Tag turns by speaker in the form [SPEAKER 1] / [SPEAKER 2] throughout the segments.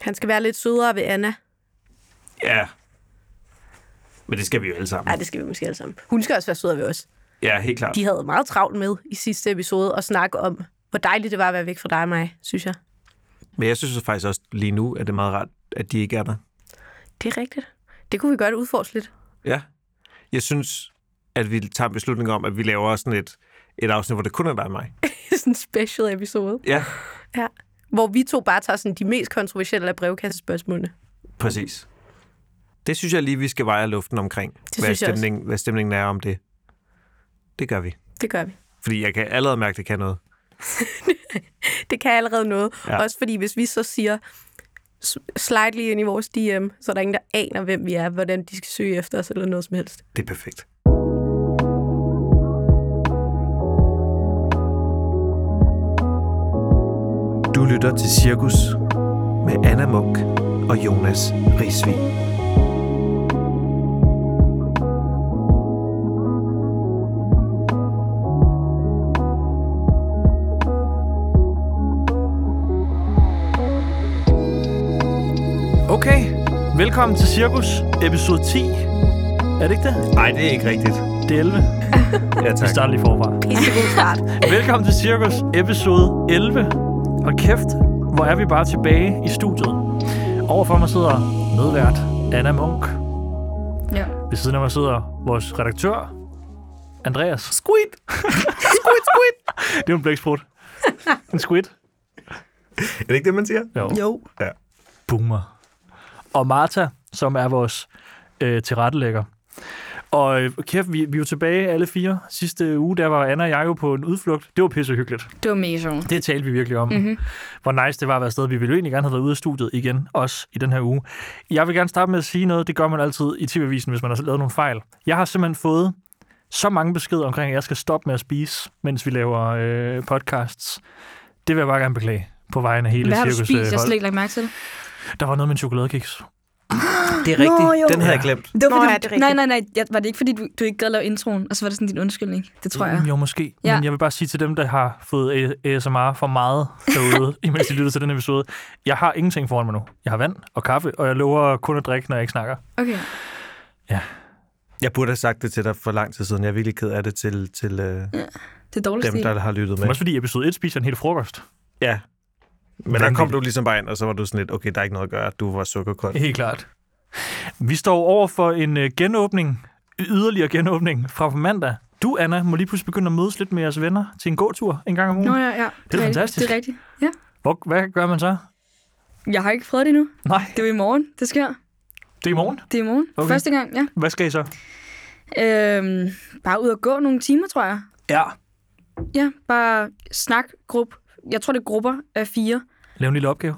[SPEAKER 1] Han skal være lidt sødere ved Anna.
[SPEAKER 2] Ja. Men det skal vi jo alle sammen.
[SPEAKER 1] Nej, det skal vi måske alle sammen. Hun skal også være sødere ved os.
[SPEAKER 2] Ja, helt klart.
[SPEAKER 1] De havde meget travlt med i sidste episode at snakke om, hvor dejligt det var at være væk fra dig og mig, synes jeg.
[SPEAKER 2] Men jeg synes faktisk også lige nu, at det er meget rart, at de ikke er der.
[SPEAKER 1] Det er rigtigt. Det kunne vi godt udforske lidt.
[SPEAKER 2] Ja. Jeg synes, at vi tager en beslutning om, at vi laver sådan et, et afsnit, hvor det kun er dig og mig.
[SPEAKER 1] sådan en special episode.
[SPEAKER 2] Ja,
[SPEAKER 1] Ja. Hvor vi to bare tager sådan de mest kontroversielle af brevkassespørgsmålene.
[SPEAKER 2] præcis. Det synes jeg lige, vi skal veje luften omkring. hvad,
[SPEAKER 1] synes jeg også.
[SPEAKER 2] stemningen, hvad stemningen er om det. Det gør vi.
[SPEAKER 1] Det gør vi.
[SPEAKER 2] Fordi jeg kan allerede mærke, at det kan noget.
[SPEAKER 1] Det kan allerede noget.
[SPEAKER 2] Ja.
[SPEAKER 1] Ja. Også fordi, hvis vi så siger, "S- slide lige ind i vores DM, så er der ingen, der aner, hvem vi er, hvordan de skal søge efter os, eller noget som helst.
[SPEAKER 2] Det er perfekt. Du lytter til Cirkus med Anna Munk og Jonas Risvig.
[SPEAKER 3] Okay, velkommen til Cirkus, episode 10. Er det ikke det?
[SPEAKER 2] Nej, det er ikke rigtigt.
[SPEAKER 3] Det er 11.
[SPEAKER 2] Ja,
[SPEAKER 3] Vi
[SPEAKER 2] tak.
[SPEAKER 3] starter lige forfra.
[SPEAKER 1] Pissegod start.
[SPEAKER 3] Velkommen til Cirkus, episode 11. Og kæft, hvor er vi bare tilbage i studiet. Overfor mig sidder medvært Anna Munk.
[SPEAKER 4] Ja.
[SPEAKER 3] Ved siden af mig sidder vores redaktør, Andreas.
[SPEAKER 2] Squid!
[SPEAKER 3] Det er jo en blæksprut. En squid.
[SPEAKER 2] Er det ikke det, man siger?
[SPEAKER 3] Jo.
[SPEAKER 1] Jo.
[SPEAKER 3] Boomer. Og Martha, som er vores øh, tilrettelægger. Og øh, kæft, vi, vi er jo tilbage alle fire. Sidste uge, der var Anna og jeg jo på en udflugt. Det var pissehyggeligt.
[SPEAKER 4] Det var mega sjovt.
[SPEAKER 3] Det talte vi virkelig om.
[SPEAKER 4] Mhm.
[SPEAKER 3] Mm-hmm. Hvor nice det var at være afsted. Vi ville jo egentlig gerne have været ude af studiet igen, også i den her uge. Jeg vil gerne starte med at sige noget. Det gør man altid i TV-avisen, hvis man har lavet nogle fejl. Jeg har simpelthen fået så mange beskeder omkring, at jeg skal stoppe med at spise, mens vi laver øh, podcasts. Det vil jeg bare gerne beklage på vejen af hele
[SPEAKER 4] Hvad har du
[SPEAKER 3] cirkus, øh,
[SPEAKER 4] spist? Jeg har
[SPEAKER 3] hold.
[SPEAKER 4] slet ikke lagt mærke til det.
[SPEAKER 3] Der var noget med en chokoladekiks.
[SPEAKER 2] Det er rigtigt.
[SPEAKER 4] Nå, jo.
[SPEAKER 2] Den havde jeg glemt.
[SPEAKER 4] Det
[SPEAKER 1] Nå,
[SPEAKER 4] fordi,
[SPEAKER 1] ja,
[SPEAKER 4] du-
[SPEAKER 1] det er rigtigt.
[SPEAKER 4] nej, nej, nej. Jeg, var det ikke, fordi du, du ikke gad lave introen? Og så var det sådan din undskyldning. Det tror jeg.
[SPEAKER 3] Jo, måske. Ja.
[SPEAKER 4] Ja.
[SPEAKER 3] Men jeg vil bare sige til dem, der har fået A- ASMR for meget derude, imens de lytter til den episode. Jeg har ingenting foran mig nu. Jeg har vand og kaffe, og jeg lover kun at drikke, når jeg ikke snakker.
[SPEAKER 4] Okay.
[SPEAKER 2] Jeg burde have sagt det til dig for lang tid siden. Jeg er virkelig ked af det til, til øh,
[SPEAKER 4] Det er dårligt
[SPEAKER 2] dem,
[SPEAKER 4] stil.
[SPEAKER 2] der har lyttet
[SPEAKER 3] Men
[SPEAKER 2] med.
[SPEAKER 3] også fordi i episode 1 spiser jeg en hel frokost.
[SPEAKER 2] Ja. Men der kom du ligesom bare ind, og så var du sådan lidt, okay, der er ikke noget at gøre. Du var sukkerkold.
[SPEAKER 3] Helt klart. Vi står over for en øh, genåbning, yderligere genåbning fra på mandag. Du, Anna, må lige pludselig begynde at mødes lidt med jeres venner til en gåtur en gang om ugen.
[SPEAKER 4] Nå ja, ja.
[SPEAKER 3] Det er
[SPEAKER 4] rigtigt.
[SPEAKER 3] fantastisk.
[SPEAKER 4] Det er rigtigt. Ja.
[SPEAKER 3] Hvor, hvad gør man så?
[SPEAKER 4] Jeg har ikke prøvet det endnu.
[SPEAKER 3] Nej,
[SPEAKER 4] Det er jo i morgen, det sker.
[SPEAKER 3] det er i morgen.
[SPEAKER 4] Det er i morgen.
[SPEAKER 3] Okay.
[SPEAKER 4] Okay. Første gang, ja.
[SPEAKER 3] Hvad skal I så?
[SPEAKER 4] Øhm, bare ud og gå nogle timer, tror jeg.
[SPEAKER 3] Ja.
[SPEAKER 4] Ja, bare snak, gruppe. Jeg tror, det er grupper af fire.
[SPEAKER 3] Lav en lille opgave.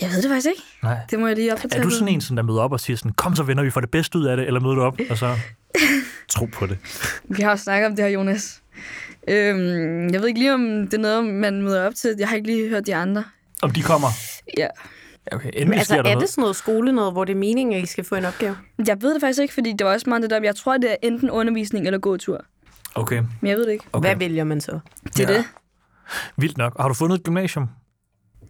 [SPEAKER 4] Jeg ved det faktisk ikke.
[SPEAKER 3] Nej.
[SPEAKER 4] Det må jeg lige opdatere.
[SPEAKER 3] Er du sådan en, som der møder op og siger sådan, kom så venner, vi får det bedste ud af det, eller møder du op, og så...
[SPEAKER 2] Tro på det.
[SPEAKER 4] Vi har jo snakket om det her, Jonas. Øhm, jeg ved ikke lige, om det er noget, man møder op til. Jeg har ikke lige hørt de andre.
[SPEAKER 3] Om de kommer?
[SPEAKER 4] Ja.
[SPEAKER 3] Okay,
[SPEAKER 1] Men
[SPEAKER 3] endelig
[SPEAKER 1] altså,
[SPEAKER 3] sker der
[SPEAKER 1] er
[SPEAKER 3] noget.
[SPEAKER 1] det sådan noget skole noget, hvor det er meningen, at I skal få en opgave?
[SPEAKER 4] Jeg ved det faktisk ikke, fordi det var også meget det der, jeg tror, det er enten undervisning eller gåtur.
[SPEAKER 3] Okay,
[SPEAKER 4] Men jeg ved det ikke.
[SPEAKER 1] Okay.
[SPEAKER 3] okay.
[SPEAKER 1] Hvad vælger man så?
[SPEAKER 4] Det er
[SPEAKER 3] Ja.
[SPEAKER 4] ja. det.
[SPEAKER 3] Vildt nok. Og Har du fundet et gymnasium?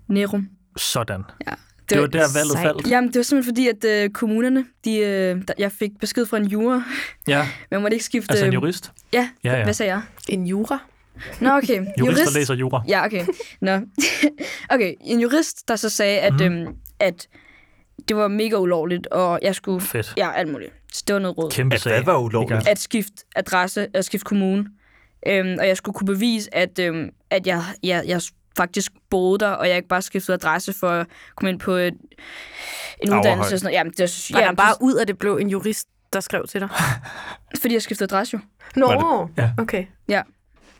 [SPEAKER 4] Nerum.
[SPEAKER 3] Sådan.
[SPEAKER 4] Det
[SPEAKER 3] Det
[SPEAKER 4] var-
[SPEAKER 3] var der, valget
[SPEAKER 1] sejt.
[SPEAKER 3] faldt.
[SPEAKER 4] Jamen, det var simpelthen fordi, at øh, kommunerne, de, øh, der, jeg fik besked fra en jura.
[SPEAKER 3] Ja,
[SPEAKER 4] Man måtte ikke skifte...
[SPEAKER 3] altså en
[SPEAKER 4] øh,
[SPEAKER 3] jurist.
[SPEAKER 4] Ja,
[SPEAKER 3] Ja, ja.
[SPEAKER 4] hvad sagde jeg?
[SPEAKER 1] En jura?
[SPEAKER 4] Nå, okay.
[SPEAKER 3] Jurist, der læser jura.
[SPEAKER 4] Ja, okay. Nå. okay, en jurist, der så sagde,
[SPEAKER 3] Mhm.
[SPEAKER 4] at, mm. øhm, at det var mega ulovligt, og jeg skulle...
[SPEAKER 3] Fedt.
[SPEAKER 4] Ja, alt muligt. Så det var noget råd.
[SPEAKER 3] Kæmpe
[SPEAKER 2] At
[SPEAKER 3] sag.
[SPEAKER 2] hvad var ulovligt?
[SPEAKER 3] Ikke?
[SPEAKER 4] at skifte adresse, at skifte kommune. Øhm, og jeg skulle kunne bevise, at, øhm, at jeg, jeg, jeg faktisk boede der, og jeg ikke bare skiftede adresse for at komme ind på et, en
[SPEAKER 2] Aurehøj.
[SPEAKER 4] uddannelse. Og sådan noget. Jamen, det synes
[SPEAKER 1] Var
[SPEAKER 4] jeg
[SPEAKER 1] der bare ud af det blev en jurist, der skrev til dig?
[SPEAKER 4] fordi jeg skiftede adresse jo.
[SPEAKER 1] Nå,
[SPEAKER 2] Var
[SPEAKER 3] Ja.
[SPEAKER 1] okay.
[SPEAKER 4] Ja.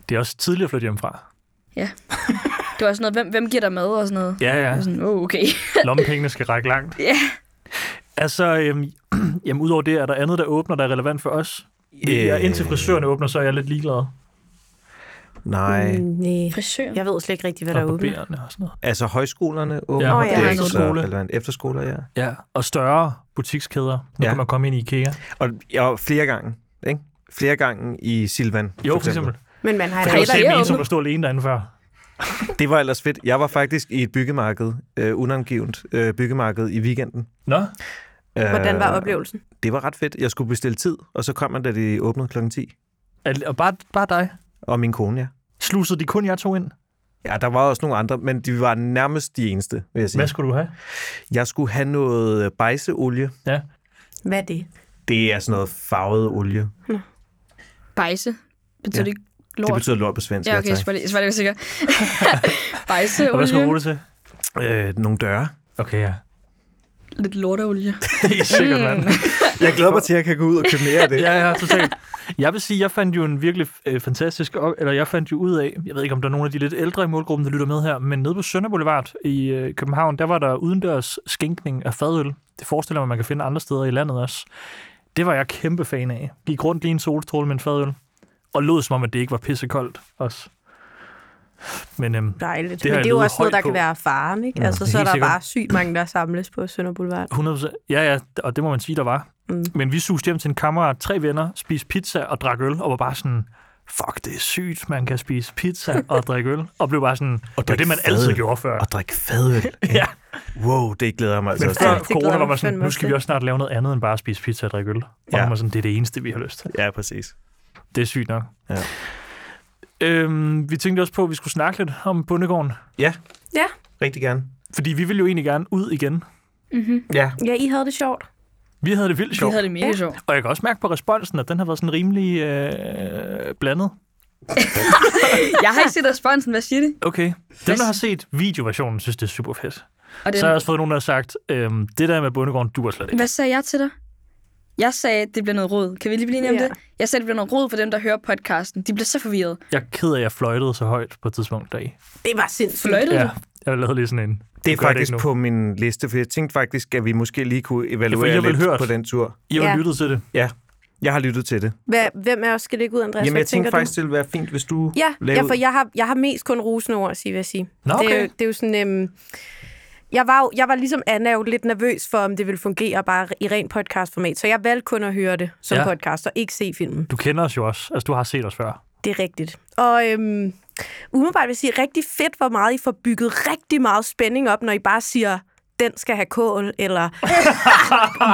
[SPEAKER 3] Det er også tidligere at flytte hjemmefra.
[SPEAKER 4] Det var sådan noget, hvem, hvem giver dig mad og sådan noget.
[SPEAKER 3] Ja, ja.
[SPEAKER 4] Jeg var sådan, oh, okay.
[SPEAKER 3] Lommepengene skal række langt.
[SPEAKER 4] Ja.
[SPEAKER 3] Altså, øhm, jamen, udover det, er der andet, der åbner, der er relevant for os? Ja, indtil frisøren åbner, så er jeg lidt ligeglad.
[SPEAKER 2] Nej.
[SPEAKER 1] Nej.
[SPEAKER 4] Frisør.
[SPEAKER 1] Jeg ved slet ikke rigtig, hvad der
[SPEAKER 3] Og
[SPEAKER 1] er åbent.
[SPEAKER 3] barbererne og sådan noget.
[SPEAKER 2] Altså højskolerne åbner.
[SPEAKER 3] Ja,
[SPEAKER 1] Nå, ja.
[SPEAKER 2] det er ikke så
[SPEAKER 3] efterskole.
[SPEAKER 2] relevant. Efterskoler, ja.
[SPEAKER 3] Ja, og større butikskæder. Nu
[SPEAKER 2] Ja.
[SPEAKER 3] kan man komme ind i IKEA.
[SPEAKER 2] Og jeg flere gange, ikke? Flere gange i Silvan.
[SPEAKER 3] Jo, for eksempel.
[SPEAKER 1] Men man har
[SPEAKER 3] For
[SPEAKER 1] da
[SPEAKER 3] det var
[SPEAKER 1] heller
[SPEAKER 4] Ej, der er
[SPEAKER 3] simpelthen en,
[SPEAKER 4] åbent.
[SPEAKER 3] som der stod alene derinde før.
[SPEAKER 2] Det var ellers fedt. Jeg var faktisk i et byggemarked, øh, unangivet øh, byggemarked i weekenden.
[SPEAKER 3] Nå,
[SPEAKER 1] Hvordan var
[SPEAKER 2] Øh,
[SPEAKER 1] oplevelsen?
[SPEAKER 2] Det var ret fedt. Jeg skulle bestille tid, og så kom man, da det åbnede kl. 10.
[SPEAKER 3] Al- og bare, bare dig.
[SPEAKER 2] Og min kone, ja.
[SPEAKER 3] Slusede de kun jer to ind?
[SPEAKER 2] Ja, der var også nogle andre, men de var nærmest de eneste, vil jeg sige.
[SPEAKER 3] Hvad skulle du have?
[SPEAKER 2] Jeg skulle have noget øh, bejseolie.
[SPEAKER 3] Ja.
[SPEAKER 1] Hvad er det?
[SPEAKER 2] Det er sådan noget farvet olie.
[SPEAKER 4] Bejse. Betyder
[SPEAKER 2] Ja.
[SPEAKER 4] ja. det ikke
[SPEAKER 2] Det
[SPEAKER 4] lort?
[SPEAKER 2] betyder lort på svensk.
[SPEAKER 4] ja, okay,
[SPEAKER 2] tak.
[SPEAKER 4] så var det, så var det sikker. Bejse,
[SPEAKER 3] Og hvad skulle du
[SPEAKER 4] olie.
[SPEAKER 3] bruge det
[SPEAKER 2] øh,
[SPEAKER 3] til?
[SPEAKER 2] nogle døre.
[SPEAKER 3] Okay, ja.
[SPEAKER 4] Lidt lorteolie.
[SPEAKER 3] Det er sikkert, mand.
[SPEAKER 2] Jeg glæder mig til, at jeg kan gå ud og købe mere af det.
[SPEAKER 3] ja, ja, totalt. Jeg vil sige, jeg fandt jo en virkelig øh, fantastisk, op- eller jeg fandt jo ud af, jeg ved ikke, om der er nogle af de lidt ældre i målgruppen, der lytter med her, men nede på Sønder Boulevard i øh, København, der var der udendørs skænkning af fadøl. Det forestiller mig, man kan finde andre steder i landet også. Det var jeg kæmpe fan af. Gik rundt lige en solstråle med en fadøl, og lod som om, at det ikke var pissekoldt også. Men øhm,
[SPEAKER 1] Dejligt.
[SPEAKER 3] Det
[SPEAKER 1] Det
[SPEAKER 3] har
[SPEAKER 1] Men
[SPEAKER 3] jeg
[SPEAKER 1] det er jo
[SPEAKER 3] lyvet
[SPEAKER 1] også noget,
[SPEAKER 3] højt
[SPEAKER 1] der kan
[SPEAKER 3] på.
[SPEAKER 1] være faren, ikke?
[SPEAKER 2] Ja,
[SPEAKER 1] altså,
[SPEAKER 3] helt
[SPEAKER 1] så er der
[SPEAKER 3] sikkert.
[SPEAKER 1] bare sygt mange, der samles på Sønder Boulevard.
[SPEAKER 3] 100%. Ja, ja, og det må man sige, der var.
[SPEAKER 1] Mm.
[SPEAKER 3] Men vi suste hjem til en kammerat, tre venner, spiste pizza og drak øl, og var bare sådan, fuck, det er sygt, man kan spise pizza og drikke øl. Og blev bare sådan, og det var
[SPEAKER 2] drikke
[SPEAKER 3] det, man
[SPEAKER 2] fadøl.
[SPEAKER 3] altid gjorde før.
[SPEAKER 2] Og drikke fadøl.
[SPEAKER 3] Ja,
[SPEAKER 2] Wow, det glæder jeg mig altså
[SPEAKER 3] men
[SPEAKER 2] også til.
[SPEAKER 3] før
[SPEAKER 1] Det glæder
[SPEAKER 3] corona var
[SPEAKER 1] jeg
[SPEAKER 3] man
[SPEAKER 1] mig
[SPEAKER 3] sådan,
[SPEAKER 1] fandme
[SPEAKER 3] nu
[SPEAKER 1] også
[SPEAKER 3] skal vi
[SPEAKER 1] til."
[SPEAKER 3] også snart lave noget andet end bare at spise pizza og drikke øl. Og
[SPEAKER 2] Ja.
[SPEAKER 3] ja. man var sådan, det er det eneste, vi har lyst til.
[SPEAKER 2] Ja, præcis.
[SPEAKER 3] Det er sygt nok.
[SPEAKER 2] Ja.
[SPEAKER 3] Øhm, vi tænkte også på, at vi skulle snakke lidt om bundegården.
[SPEAKER 2] Rigtig gerne.
[SPEAKER 3] Fordi vi ville jo egentlig gerne ud igen.
[SPEAKER 4] Mm-hmm.
[SPEAKER 2] Ja.
[SPEAKER 1] Ja, I havde det sjovt.
[SPEAKER 3] Vi havde det vildt
[SPEAKER 4] Vi
[SPEAKER 3] sjovt.
[SPEAKER 4] havde det mega
[SPEAKER 1] Ja.
[SPEAKER 4] sjovt.
[SPEAKER 3] Og jeg kan også mærke på responsen, at den har været sådan rimelig øh, blandet.
[SPEAKER 4] Jeg har ikke set responsen. Hvad siger det?
[SPEAKER 3] Okay. Dem, der har set videoversionen, synes, det er super fedt.
[SPEAKER 4] Og det
[SPEAKER 3] Så har jeg også fået nogen, der har sagt, øhm, det der med bundegården duer slet ikke.
[SPEAKER 4] Hvad sagde jeg til dig? Jeg sagde, at det bliver noget råd. Kan vi lige blive enige om
[SPEAKER 1] Ja.
[SPEAKER 4] det? Jeg sagde, at det bliver noget råd for dem, der hører podcasten. De bliver så forvirret.
[SPEAKER 3] Jeg er ked af, at jeg fløjtede så højt på et tidspunkt deri.
[SPEAKER 1] Det var sindssygt.
[SPEAKER 4] Fløjtede
[SPEAKER 3] Ja,
[SPEAKER 4] ja.
[SPEAKER 3] jeg lavede lige sådan en.
[SPEAKER 2] Det er
[SPEAKER 3] gør det
[SPEAKER 2] faktisk
[SPEAKER 3] ikke nu.
[SPEAKER 2] på min liste, for jeg tænkte faktisk, at vi måske lige kunne
[SPEAKER 3] Ja, for I
[SPEAKER 2] evaluere
[SPEAKER 3] har vel
[SPEAKER 2] lidt
[SPEAKER 3] hørt.
[SPEAKER 2] på den tur.
[SPEAKER 3] I har
[SPEAKER 1] Ja.
[SPEAKER 3] ja. lyttet til det.
[SPEAKER 2] Ja, jeg har lyttet til det.
[SPEAKER 1] Hvad, hvem af os skal ligge ud, Andreas?
[SPEAKER 2] Jamen,
[SPEAKER 1] Altså, Hvad
[SPEAKER 2] jeg tænkte
[SPEAKER 1] tænker du?
[SPEAKER 2] faktisk, det ville være fint, hvis du
[SPEAKER 1] Ja,
[SPEAKER 2] lavede...
[SPEAKER 1] ja for jeg har, jeg har mest kun rosende ord at sige, vil jeg sige. Det,
[SPEAKER 3] Nå,
[SPEAKER 1] er jo,
[SPEAKER 3] okay.
[SPEAKER 1] det er jo sådan... Øhm, jeg var, jo, jeg var ligesom Anna jo lidt nervøs for, om det ville fungere bare i ren podcastformat, så jeg valgte kun at høre det som
[SPEAKER 3] Ja.
[SPEAKER 1] ja. podcast og ikke se filmen.
[SPEAKER 3] Du kender os jo også. Altså, du har set os før.
[SPEAKER 1] Det er rigtigt. Og øhm, umiddelbart vil jeg sige, rigtig fedt, hvor meget I får bygget rigtig meget spænding op, når I bare siger, den skal have kål, eller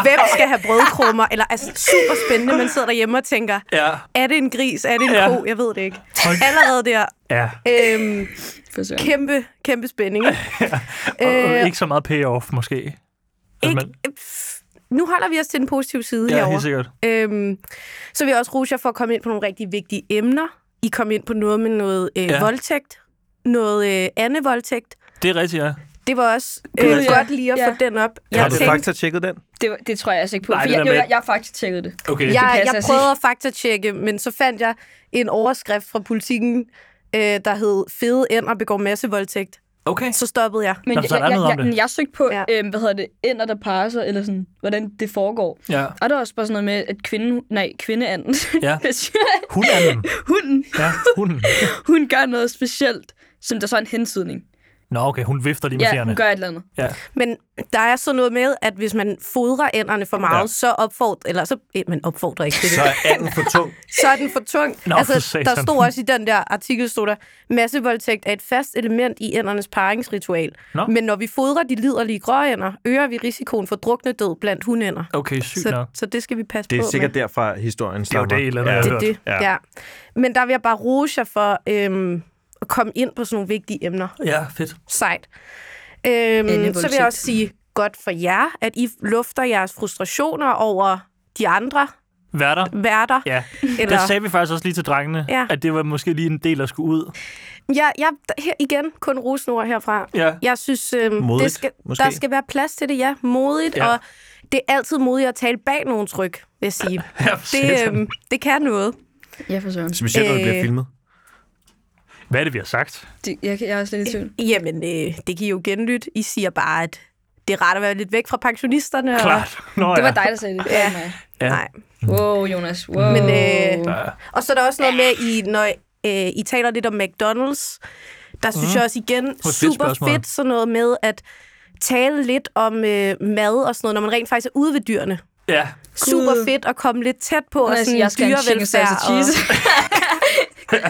[SPEAKER 1] hvem skal have brødkrummer, eller altså super spændende, man sidder derhjemme og tænker,
[SPEAKER 3] Ja.
[SPEAKER 1] er det en gris, er det en
[SPEAKER 3] Ja.
[SPEAKER 1] ja. ko, jeg ved det ikke. Allerede der,
[SPEAKER 3] Ja,
[SPEAKER 1] øhm,
[SPEAKER 4] For
[SPEAKER 1] kæmpe, kæmpe spænding. ikke?
[SPEAKER 3] og
[SPEAKER 1] Øh,
[SPEAKER 3] ikke så meget payoff måske.
[SPEAKER 1] Ikke,
[SPEAKER 3] men,
[SPEAKER 1] pff, nu holder vi os til den positive side
[SPEAKER 3] ja, helt
[SPEAKER 1] herovre.
[SPEAKER 3] sikkert.
[SPEAKER 1] Øhm, så vil jeg også rose jer for at komme ind på nogle rigtig vigtige emner. I kom ind på noget med noget øh,
[SPEAKER 3] Ja.
[SPEAKER 1] ja. voldtægt, noget øh, andet voldtægt.
[SPEAKER 3] Det er rigtigt, ja.
[SPEAKER 1] Det var også øh,
[SPEAKER 4] Gud, ja.
[SPEAKER 1] godt lige at
[SPEAKER 4] Ja.
[SPEAKER 1] få den op.
[SPEAKER 2] Har
[SPEAKER 1] Jeg,
[SPEAKER 2] du
[SPEAKER 1] tænkte,
[SPEAKER 2] faktatjekket den?
[SPEAKER 4] Det, var- det tror jeg altså ikke på.
[SPEAKER 3] Nej,
[SPEAKER 4] for
[SPEAKER 3] det
[SPEAKER 4] jeg,
[SPEAKER 3] der
[SPEAKER 4] jo,
[SPEAKER 3] med-
[SPEAKER 4] jeg, jeg har faktisk tjekket det.
[SPEAKER 3] Okay. Ja.
[SPEAKER 1] jeg,
[SPEAKER 4] passer
[SPEAKER 1] jeg
[SPEAKER 4] altså
[SPEAKER 1] prøvede at faktatjekke, men så fandt jeg en overskrift fra politikken, øh, der hed Fede ænder begår massevoldtægt.
[SPEAKER 3] Okay.
[SPEAKER 1] Så stoppede jeg.
[SPEAKER 4] Men
[SPEAKER 3] Nå,
[SPEAKER 4] jeg,
[SPEAKER 3] så er der
[SPEAKER 4] jeg,
[SPEAKER 3] andet om
[SPEAKER 4] jeg,
[SPEAKER 3] det.
[SPEAKER 4] jeg, jeg søgte på,
[SPEAKER 1] Ja.
[SPEAKER 4] ja. øhm, hvad hedder det, ender der passer, eller sådan, hvordan det foregår.
[SPEAKER 3] Ja.
[SPEAKER 4] Og der er også bare sådan noget med, at kvinden, nej, kvindeanden,
[SPEAKER 3] Ja. Hun er den.
[SPEAKER 4] hunden,
[SPEAKER 3] Ja, hunden.
[SPEAKER 4] hun gør noget specielt, som der så er en hensydning.
[SPEAKER 3] Nå, okay, hun vifter lige med
[SPEAKER 4] Ja,
[SPEAKER 3] fjerne.
[SPEAKER 4] hun gør et eller andet.
[SPEAKER 3] Ja.
[SPEAKER 1] Men der er sådan noget med, at hvis man fodrer ænderne for meget,
[SPEAKER 3] Ja.
[SPEAKER 1] ja. så opfordrer... Eller så... eh, Man opfordrer ikke til det.
[SPEAKER 2] Så er den for tung.
[SPEAKER 1] så er den for tung.
[SPEAKER 3] Nå, for
[SPEAKER 1] altså,
[SPEAKER 3] satan.
[SPEAKER 1] der stod også i den der artikel, stod der, massevoldtægt er et fast element i ændernes paringsritual.
[SPEAKER 3] Nå.
[SPEAKER 1] Men når vi fodrer de liderlige gråænder, øger vi risikoen for druknedød blandt hundænder.
[SPEAKER 3] Okay, sygt
[SPEAKER 1] Så,
[SPEAKER 3] nok.
[SPEAKER 1] så det skal vi passe
[SPEAKER 2] Det
[SPEAKER 1] på
[SPEAKER 2] er sikkert
[SPEAKER 1] med.
[SPEAKER 2] derfra historien
[SPEAKER 3] Det er jo
[SPEAKER 2] stammer.
[SPEAKER 3] det, et eller andet, jeg
[SPEAKER 1] Det
[SPEAKER 3] har
[SPEAKER 1] er
[SPEAKER 3] hørt.
[SPEAKER 1] det,
[SPEAKER 2] Ja.
[SPEAKER 1] ja. ja. Men der vil jeg bare rose jer for øhm, at komme ind på sådan nogle vigtige emner.
[SPEAKER 3] Ja, fedt.
[SPEAKER 1] Sejt. Øhm, så vil
[SPEAKER 4] Endevoldtægt.
[SPEAKER 1] jeg også sige godt for jer, at I lufter jeres frustrationer over de andre
[SPEAKER 3] Værter.
[SPEAKER 1] værter.
[SPEAKER 3] Ja,
[SPEAKER 1] Eller,
[SPEAKER 3] der sagde vi faktisk også lige til drengene,
[SPEAKER 1] Ja.
[SPEAKER 3] at det var måske lige en del, der skulle ud.
[SPEAKER 1] jeg, jeg, her, igen, kun rosnord herfra.
[SPEAKER 3] Ja.
[SPEAKER 1] Jeg synes, øhm,
[SPEAKER 2] Modigt,
[SPEAKER 1] det skal,
[SPEAKER 2] måske.
[SPEAKER 1] der skal være plads til det, ja. Modigt,
[SPEAKER 3] Ja.
[SPEAKER 1] ja. og det er altid modigt at tale bag nogen tryk, vil jeg sige.
[SPEAKER 3] Ja, for
[SPEAKER 1] Det,
[SPEAKER 3] satan.
[SPEAKER 1] øhm, det kan noget.
[SPEAKER 4] Ja, for søren.
[SPEAKER 2] Specielt, når det bliver
[SPEAKER 1] Øh,
[SPEAKER 2] filmet.
[SPEAKER 3] Hvad er det, vi har sagt?
[SPEAKER 4] Det, jeg, kan- jeg er slet i tvivl.
[SPEAKER 1] Jamen, øh, det kan I jo genlytte. I siger bare, at det er rart at være lidt væk fra pensionisterne.
[SPEAKER 3] Klart. Nå,
[SPEAKER 4] Det var
[SPEAKER 3] ja.
[SPEAKER 4] dig, der sagde det. Det
[SPEAKER 1] Ja.
[SPEAKER 4] var mig.
[SPEAKER 3] Ja.
[SPEAKER 1] Og, nej.
[SPEAKER 4] Wow, Jonas. Wow.
[SPEAKER 3] Mm.
[SPEAKER 1] Men, øh,
[SPEAKER 3] Ja.
[SPEAKER 1] og så er der også noget med, at I, når øh, I taler lidt om McDonald's, der synes
[SPEAKER 3] Mm.
[SPEAKER 1] jeg også igen
[SPEAKER 3] fedt
[SPEAKER 1] super
[SPEAKER 3] spørgsmål.
[SPEAKER 1] fedt sådan noget med at tale lidt om øh, mad og sådan noget, når man rent faktisk er ude ved dyrene.
[SPEAKER 3] ja.
[SPEAKER 1] super fedt at komme lidt tæt på, og
[SPEAKER 4] Og
[SPEAKER 1] sådan
[SPEAKER 4] jeg skal have en chicken
[SPEAKER 1] dyrevelfærd.
[SPEAKER 4] salsa
[SPEAKER 1] Og,
[SPEAKER 4] cheese.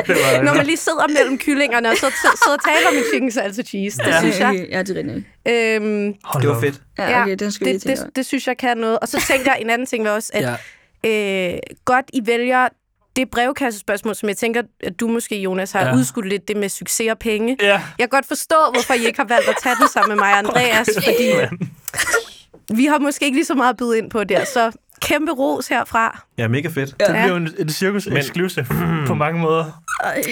[SPEAKER 3] var,
[SPEAKER 1] når man lige sidder mellem kyllingerne, og så t- sidder og taler om en chicken salsa cheese. Det
[SPEAKER 3] Ja.
[SPEAKER 1] ja. synes jeg.
[SPEAKER 4] Ja, det er rigtigt.
[SPEAKER 1] Øhm,
[SPEAKER 2] Det
[SPEAKER 3] Hold da
[SPEAKER 2] var
[SPEAKER 3] op.
[SPEAKER 2] fedt.
[SPEAKER 4] Ja, okay, den skal vi lige
[SPEAKER 1] det,
[SPEAKER 4] tænke over.
[SPEAKER 1] det, det synes jeg kan noget. Og så tænker jeg en anden ting var også, at
[SPEAKER 3] Ja.
[SPEAKER 1] øh, godt I vælger det brevkassespørgsmål, som jeg tænker, at du måske, Jonas, har
[SPEAKER 3] Ja.
[SPEAKER 1] ja. udskudt lidt det med succes og penge.
[SPEAKER 3] Ja.
[SPEAKER 1] Jeg kan godt forstå, hvorfor I ikke har valgt at tage den sammen med mig og Andreas, fordi vi har måske ikke lige så meget at byde ind på der. Så kæmpe ros herfra.
[SPEAKER 2] Ja, mega fedt.
[SPEAKER 3] Det bliver jo en, en cirkus
[SPEAKER 2] Men-
[SPEAKER 3] exclusive på mange måder.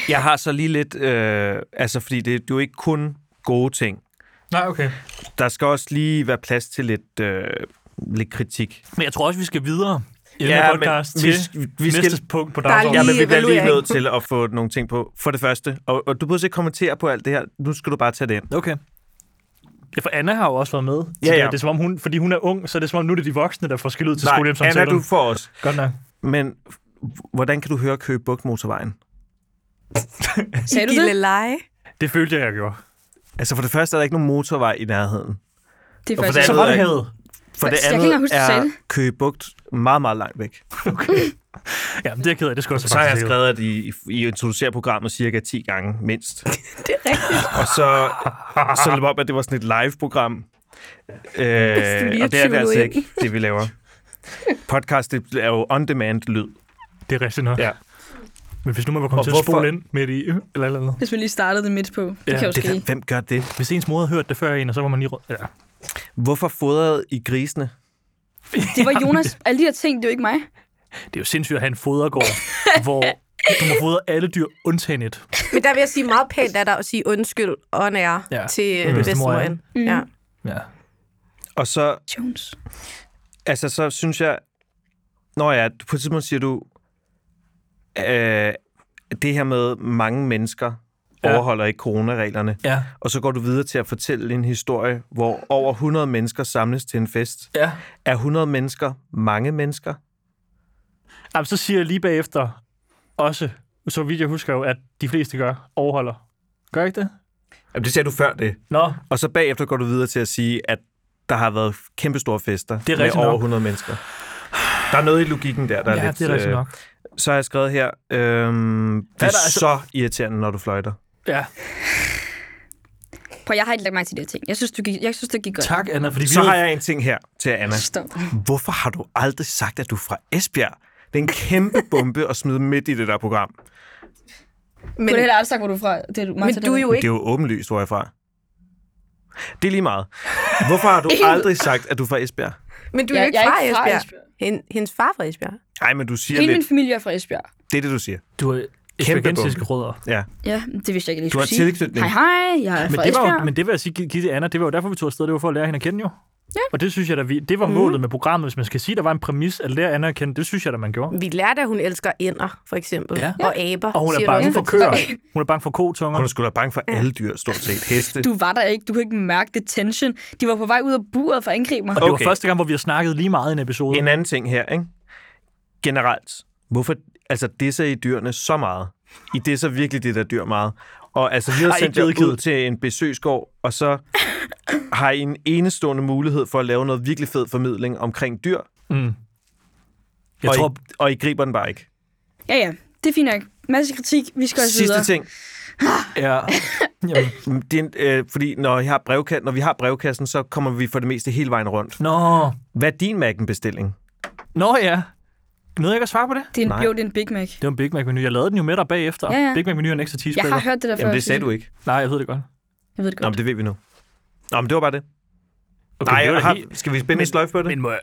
[SPEAKER 2] Jeg har så lige lidt... Øh, altså, fordi det, det er jo ikke kun gode ting.
[SPEAKER 3] Nej, okay.
[SPEAKER 2] Der skal også lige være plads til lidt, øh, lidt kritik.
[SPEAKER 3] Men jeg tror også, vi skal videre i ja, den
[SPEAKER 2] Ja,
[SPEAKER 3] her
[SPEAKER 2] men
[SPEAKER 3] podcast
[SPEAKER 2] vi-
[SPEAKER 3] til
[SPEAKER 2] vi-
[SPEAKER 3] vi,
[SPEAKER 2] vi
[SPEAKER 3] vi
[SPEAKER 2] skal-
[SPEAKER 3] næste skal... punkt på
[SPEAKER 1] er
[SPEAKER 3] dagsordenen.
[SPEAKER 2] Ja,
[SPEAKER 1] Lige
[SPEAKER 2] men vi bliver lige
[SPEAKER 1] evaluering.
[SPEAKER 2] nødt til at få nogle ting på. For det første, og, og du behøver ikke kommentere på alt det her. Nu skal du bare tage det ind.
[SPEAKER 3] Okay. Ja, for Anna har jo også været med. til
[SPEAKER 2] Ja,
[SPEAKER 3] det.
[SPEAKER 2] ja.
[SPEAKER 3] Det er som om hun, fordi hun er ung, så er det som om nu er det de voksne, der får skilt ud til
[SPEAKER 2] Nej,
[SPEAKER 3] skolehjemsamtalen.
[SPEAKER 2] Anna, du får os.
[SPEAKER 3] Godt nok.
[SPEAKER 2] Men hvordan kan du høre Køge Bugt motorvejen?
[SPEAKER 4] Sagde du det?
[SPEAKER 1] Leje.
[SPEAKER 3] Det følte jeg, jeg gjorde.
[SPEAKER 2] Altså for det første er der ikke nogen motorvej i nærheden.
[SPEAKER 4] Det er
[SPEAKER 2] Og for
[SPEAKER 4] faktisk...
[SPEAKER 2] det
[SPEAKER 3] Så
[SPEAKER 2] ved
[SPEAKER 3] var
[SPEAKER 2] jeg
[SPEAKER 3] det
[SPEAKER 2] ikke.
[SPEAKER 3] havde.
[SPEAKER 2] For det
[SPEAKER 4] Jeg kan
[SPEAKER 2] andet
[SPEAKER 4] ikke engang huske, du sagde
[SPEAKER 2] er
[SPEAKER 4] det.
[SPEAKER 2] Køge Bugt meget, meget langt væk.
[SPEAKER 3] Ja, men det er jeg ked af. Det skulle jeg så,
[SPEAKER 2] Så har jeg
[SPEAKER 3] faktisk
[SPEAKER 2] skrevet, at I, I introducerer programmet cirka 10 gange mindst.
[SPEAKER 1] Det er rigtigt.
[SPEAKER 2] Og så, så det var, at det var sådan et live-program. Øh, og det er det
[SPEAKER 1] 24
[SPEAKER 2] altså
[SPEAKER 1] ind.
[SPEAKER 2] ikke, det vi laver. Podcast det er jo on-demand-lyd.
[SPEAKER 3] Det er rigtigt nok.
[SPEAKER 2] Ja.
[SPEAKER 3] Men hvis nu man var
[SPEAKER 2] Og
[SPEAKER 3] kommet til at
[SPEAKER 2] hvorfor-
[SPEAKER 3] spole ind midt i... øh, Eller, eller, eller.
[SPEAKER 4] Hvis man lige startede det midt på. Det
[SPEAKER 3] Ja,
[SPEAKER 4] kan jo
[SPEAKER 2] Det,
[SPEAKER 4] ske.
[SPEAKER 2] der- hvem gør det?
[SPEAKER 3] Hvis ens mor havde hørt det før en, og så var man lige... rød- Ja.
[SPEAKER 2] Hvorfor fodrede I grisene?
[SPEAKER 4] Det var Jonas. Alle de her ting, det var ikke mig.
[SPEAKER 3] Det er jo sindssygt at have en fodergård, hvor du må fodre alle dyr undtagen et.
[SPEAKER 1] Men der vil jeg sige meget pænt af dig at sige undskyld og nære
[SPEAKER 3] Ja.
[SPEAKER 1] ja. til
[SPEAKER 3] Mm.
[SPEAKER 1] mm. bedstemoren.
[SPEAKER 4] Mm.
[SPEAKER 1] Mm. Ja.
[SPEAKER 3] Ja.
[SPEAKER 2] Og så,
[SPEAKER 4] Jones.
[SPEAKER 2] altså, så synes jeg... Nå ja, på et tidspunkt siger du... Øh, det her med mange mennesker
[SPEAKER 3] Ja.
[SPEAKER 2] overholder ikke coronareglerne.
[SPEAKER 3] Ja.
[SPEAKER 2] Og så går du videre til at fortælle en historie, hvor over 100 mennesker samles til en fest.
[SPEAKER 3] Ja.
[SPEAKER 2] Er 100 mennesker mange mennesker?
[SPEAKER 3] Jamen, så siger jeg lige bagefter også, så vidt jeg husker jo, at de fleste gør, overholder. Gør ikke det?
[SPEAKER 2] Jamen, det sagde du før det.
[SPEAKER 3] Nå,
[SPEAKER 2] Og så bagefter går du videre til at sige, at der har været kæmpestore fester
[SPEAKER 3] er
[SPEAKER 2] med
[SPEAKER 3] rigtigt
[SPEAKER 2] over
[SPEAKER 3] nok.
[SPEAKER 2] 100 mennesker. Der er noget i logikken der, der
[SPEAKER 3] ja,
[SPEAKER 2] er lidt...
[SPEAKER 3] det er rigtigt
[SPEAKER 2] øh,
[SPEAKER 3] nok.
[SPEAKER 2] Så har jeg skrevet her, øhm, det er,
[SPEAKER 3] der altså-
[SPEAKER 2] så irriterende, når du fløjter.
[SPEAKER 3] Ja.
[SPEAKER 4] Prøv, jeg har ikke lagt mærke til de her ting. Jeg synes, du gik, jeg synes det gik godt.
[SPEAKER 3] Tak, Anna, fordi vi
[SPEAKER 2] Så har jeg en ting her til Anna.
[SPEAKER 4] Stop.
[SPEAKER 2] Hvorfor har du aldrig sagt, at du er fra Esbjerg? Det er en kæmpe bombe at smide midt i det der program.
[SPEAKER 4] Du
[SPEAKER 1] Men,
[SPEAKER 4] har heller aldrig sagt, hvor du er fra. Det er du,
[SPEAKER 1] men
[SPEAKER 4] Martha,
[SPEAKER 1] du er jo
[SPEAKER 2] Det er
[SPEAKER 1] ikke...
[SPEAKER 2] jo åbenlyst, hvor jeg er fra. Det er lige meget. Hvorfor har du aldrig sagt, at du er fra Esbjerg?
[SPEAKER 1] Men du er
[SPEAKER 4] Jeg-
[SPEAKER 1] jo ikke
[SPEAKER 4] jeg er
[SPEAKER 1] fra
[SPEAKER 4] ikke fra
[SPEAKER 1] Esbjerg.
[SPEAKER 4] Esbjerg.
[SPEAKER 1] Hen, hendes far er fra Esbjerg.
[SPEAKER 2] Nej, men du siger
[SPEAKER 4] Hele
[SPEAKER 2] lidt.
[SPEAKER 4] min familie er fra Esbjerg.
[SPEAKER 2] Det er det, du siger.
[SPEAKER 3] Du er
[SPEAKER 2] esbjergensiske
[SPEAKER 3] kæmpe rødder.
[SPEAKER 2] Ja.
[SPEAKER 4] Ja, det vidste jeg ikke, lige
[SPEAKER 2] Du har
[SPEAKER 4] skulle sige.
[SPEAKER 2] tilknytning.
[SPEAKER 4] Hej, hej. Jeg er
[SPEAKER 3] Men
[SPEAKER 4] fra
[SPEAKER 3] det, var
[SPEAKER 4] Esbjerg.
[SPEAKER 3] jo, men det vil jeg sige, gi- give til Anna, det var jo derfor, vi tog afsted. Det var for at lære hende at kende jo. Ja. Og det synes jeg da, vi, det var
[SPEAKER 4] Mhm.
[SPEAKER 3] målet med programmet. Hvis man skal sige, der var en præmis at lære Anna at kende, det synes jeg da, man gjorde.
[SPEAKER 1] Vi lærte, at hun elsker ænder, for eksempel.
[SPEAKER 3] Ja.
[SPEAKER 1] Ja. Og aber.
[SPEAKER 3] Og hun er
[SPEAKER 1] siger du
[SPEAKER 3] bange
[SPEAKER 1] også.
[SPEAKER 3] for køer. Hun er bange for
[SPEAKER 2] Hun
[SPEAKER 3] kotunger.
[SPEAKER 2] er sgu da bange for alle dyr, stort set. Heste.
[SPEAKER 4] Du var der ikke. Du kunne ikke mærke det tension. De var på vej ud af buret for at angribe mig.
[SPEAKER 3] Og det var
[SPEAKER 2] Okay.
[SPEAKER 3] første gang, hvor vi har snakket lige meget i en episode.
[SPEAKER 2] En anden ting her, ikke? Generelt, hvorfor altså, disser I dyrene så meget? I disser virkelig det der dyr meget. Og altså, vi har
[SPEAKER 3] Ej,
[SPEAKER 2] sendt
[SPEAKER 3] ikke
[SPEAKER 2] jer ud
[SPEAKER 3] vedkædet.
[SPEAKER 2] til en besøgsgård, og så har I en enestående mulighed for at lave noget virkelig fed formidling omkring dyr,
[SPEAKER 3] Mm. Jeg
[SPEAKER 2] og,
[SPEAKER 3] tror,
[SPEAKER 2] I, og I griber den bare ikke.
[SPEAKER 4] Ja, ja. Det er fint nok. Masse kritik. Vi skal også videre.
[SPEAKER 2] Sidste ting,
[SPEAKER 3] ja. Jamen.
[SPEAKER 2] det er, en- øh, fordi når, I har brevka- når vi har brevkassen, så kommer vi for det meste hele vejen rundt.
[SPEAKER 3] Nå.
[SPEAKER 2] Hvad er din Mac'en-bestilling?
[SPEAKER 3] Nå ja. Nåede jeg ikke at svare på det?
[SPEAKER 4] Det er en,
[SPEAKER 2] Nej.
[SPEAKER 4] jo, det er en Big Mac.
[SPEAKER 3] Det var en Big Mac-menu. Jeg lavede den jo med dig bagefter.
[SPEAKER 4] Ja, ja.
[SPEAKER 3] Big Mac-menu og en ekstra
[SPEAKER 4] Jeg
[SPEAKER 3] cheeseburger.
[SPEAKER 4] har hørt det der før.
[SPEAKER 2] Jamen, det sagde
[SPEAKER 4] synes
[SPEAKER 2] du ikke.
[SPEAKER 3] Nej, jeg ved det godt.
[SPEAKER 4] jeg. Jeg ved det
[SPEAKER 2] Nå,
[SPEAKER 4] godt.
[SPEAKER 2] men det ved vi nu. Nå, men det var bare det. Okay, Nej,
[SPEAKER 3] det var
[SPEAKER 2] jeg
[SPEAKER 3] da
[SPEAKER 2] har,
[SPEAKER 3] helt-
[SPEAKER 2] skal vi spænde en sløjf på det?
[SPEAKER 3] Men må jeg...